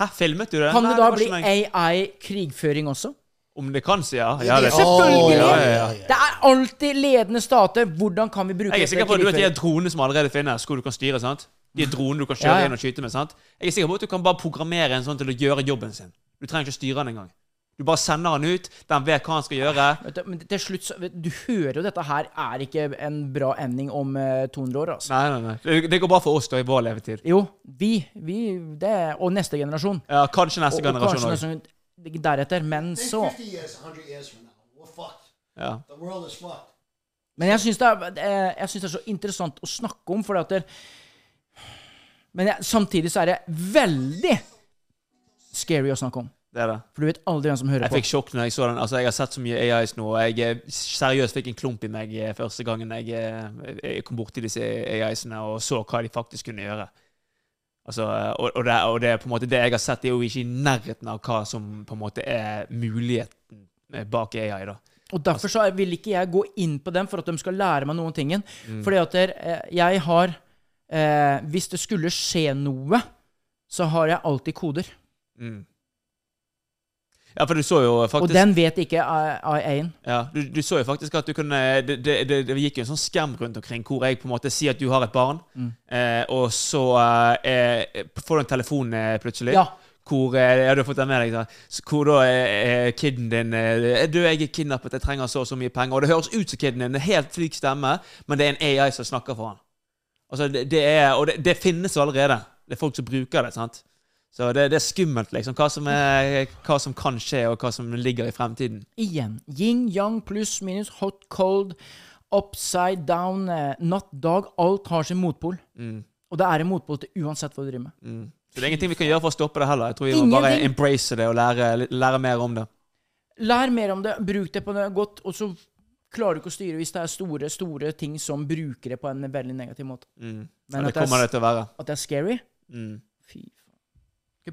Speaker 4: Hæ, filmet du det?
Speaker 2: Kan
Speaker 4: Nei,
Speaker 2: det da
Speaker 4: var
Speaker 2: bli
Speaker 4: ikke meg.
Speaker 2: AI-krigføring også?
Speaker 4: Om det kan, sier jeg. Ja, det er
Speaker 2: Selvfølgelig!
Speaker 4: Ja, ja, ja.
Speaker 2: Det er alltid ledende stater. Hvordan kan vi bruke
Speaker 4: Jeg er
Speaker 2: det til
Speaker 4: sikker på at du vet de
Speaker 2: krigføring?
Speaker 4: er dronene som allerede finnes, hvor du kan styre, sant? De er dronene du kan kjøre
Speaker 2: Ja, ja.
Speaker 4: inn og skyte med, sant? Jeg er sikker på at du kan bare programmere en sånn til å gjøre jobben sin. Du trenger ikke å styre den engang. Du bare sender den ut, den vet hva han skal gjøre.
Speaker 2: Vet du, men til slutt, så, vet, du hører jo dette her er ikke en bra ending om eh, 200 år, altså.
Speaker 4: Nei, nei, nei. Det, det går bra for oss da i vår levetid.
Speaker 2: Jo, vi, vi det, og neste generasjon.
Speaker 4: Ja, kanskje neste
Speaker 2: Og, og
Speaker 4: generasjon
Speaker 2: kanskje
Speaker 4: òg.
Speaker 2: nesten deretter, men så
Speaker 3: years, 100 years from now, we're fucked.
Speaker 4: Ja.
Speaker 3: The world is fucked.
Speaker 2: Men jeg syns det, er- eh, jeg syns det er så interessant å snakke om, fordi at det, Men jeg, samtidig så er det veldig scary å snakke om.
Speaker 4: Det er det.
Speaker 2: For du vet aldri hvem som hører
Speaker 4: Jeg
Speaker 2: på.
Speaker 4: fikk sjokk når jeg så den. Altså, jeg har sett så mye AIs nå, og jeg eh, seriøst fikk en klump i meg eh, første gangen jeg, eh, jeg kom borti disse AIs-ene og så hva de faktisk kunne gjøre. Altså, eh, og, og, det, og det er på en måte det jeg har sett, det er jo ikke i nærheten av hva som på en måte er muligheten eh, bak AI. da.
Speaker 2: Og derfor så er- vil ikke jeg gå inn på dem for at de skal lære meg noen tingen.
Speaker 4: Mm.
Speaker 2: Fordi at der, eh, jeg har eh, Hvis det skulle skje noe, så har jeg alltid koder.
Speaker 4: Mm. Ja, for du så jo faktisk...
Speaker 2: Og den vet ikke IA-en.
Speaker 4: Ja, du, du så jo faktisk at du kunne det, det, det, det gikk jo en sånn skam rundt omkring hvor jeg på en måte sier at du har et barn, eh, og så eh, eh, får du en telefon eh, plutselig.
Speaker 2: Ja.
Speaker 4: Hvor eh, ja, du har fått den med deg, da. Så Hvor da eh, eh, kiden din eh, Du, jeg er kidnappet, jeg trenger så og så mye penger. Og det høres ut som kiden din, det er helt flik stemme, men det er en AI som snakker for han. Altså, det, det er, Og det, det finnes jo allerede. Det er folk som bruker det. sant? Så det, det er skummelt, liksom. Hva som, er, hva som kan skje, og hva som ligger i fremtiden.
Speaker 2: Igjen. Yin, yang, pluss, minus, hot, cold, upside down, eh, natt, dag. Alt har sin motpol.
Speaker 4: Mm.
Speaker 2: Og det er en motpol til uansett hva du driver med.
Speaker 4: Så det er ingenting vi kan gjøre for å stoppe det heller. Jeg tror vi må bare
Speaker 2: Ingenting.
Speaker 4: embrace det og lære, lære mer om det.
Speaker 2: Lær mer om det, bruk det på det godt, og så klarer du ikke å styre hvis det er store store ting som bruker det på en veldig negativ måte. Men
Speaker 4: Og Mm. det
Speaker 2: at, det
Speaker 4: kommer
Speaker 2: er,
Speaker 4: Mm. det til å være.
Speaker 2: at det er scary Fy faen. Skal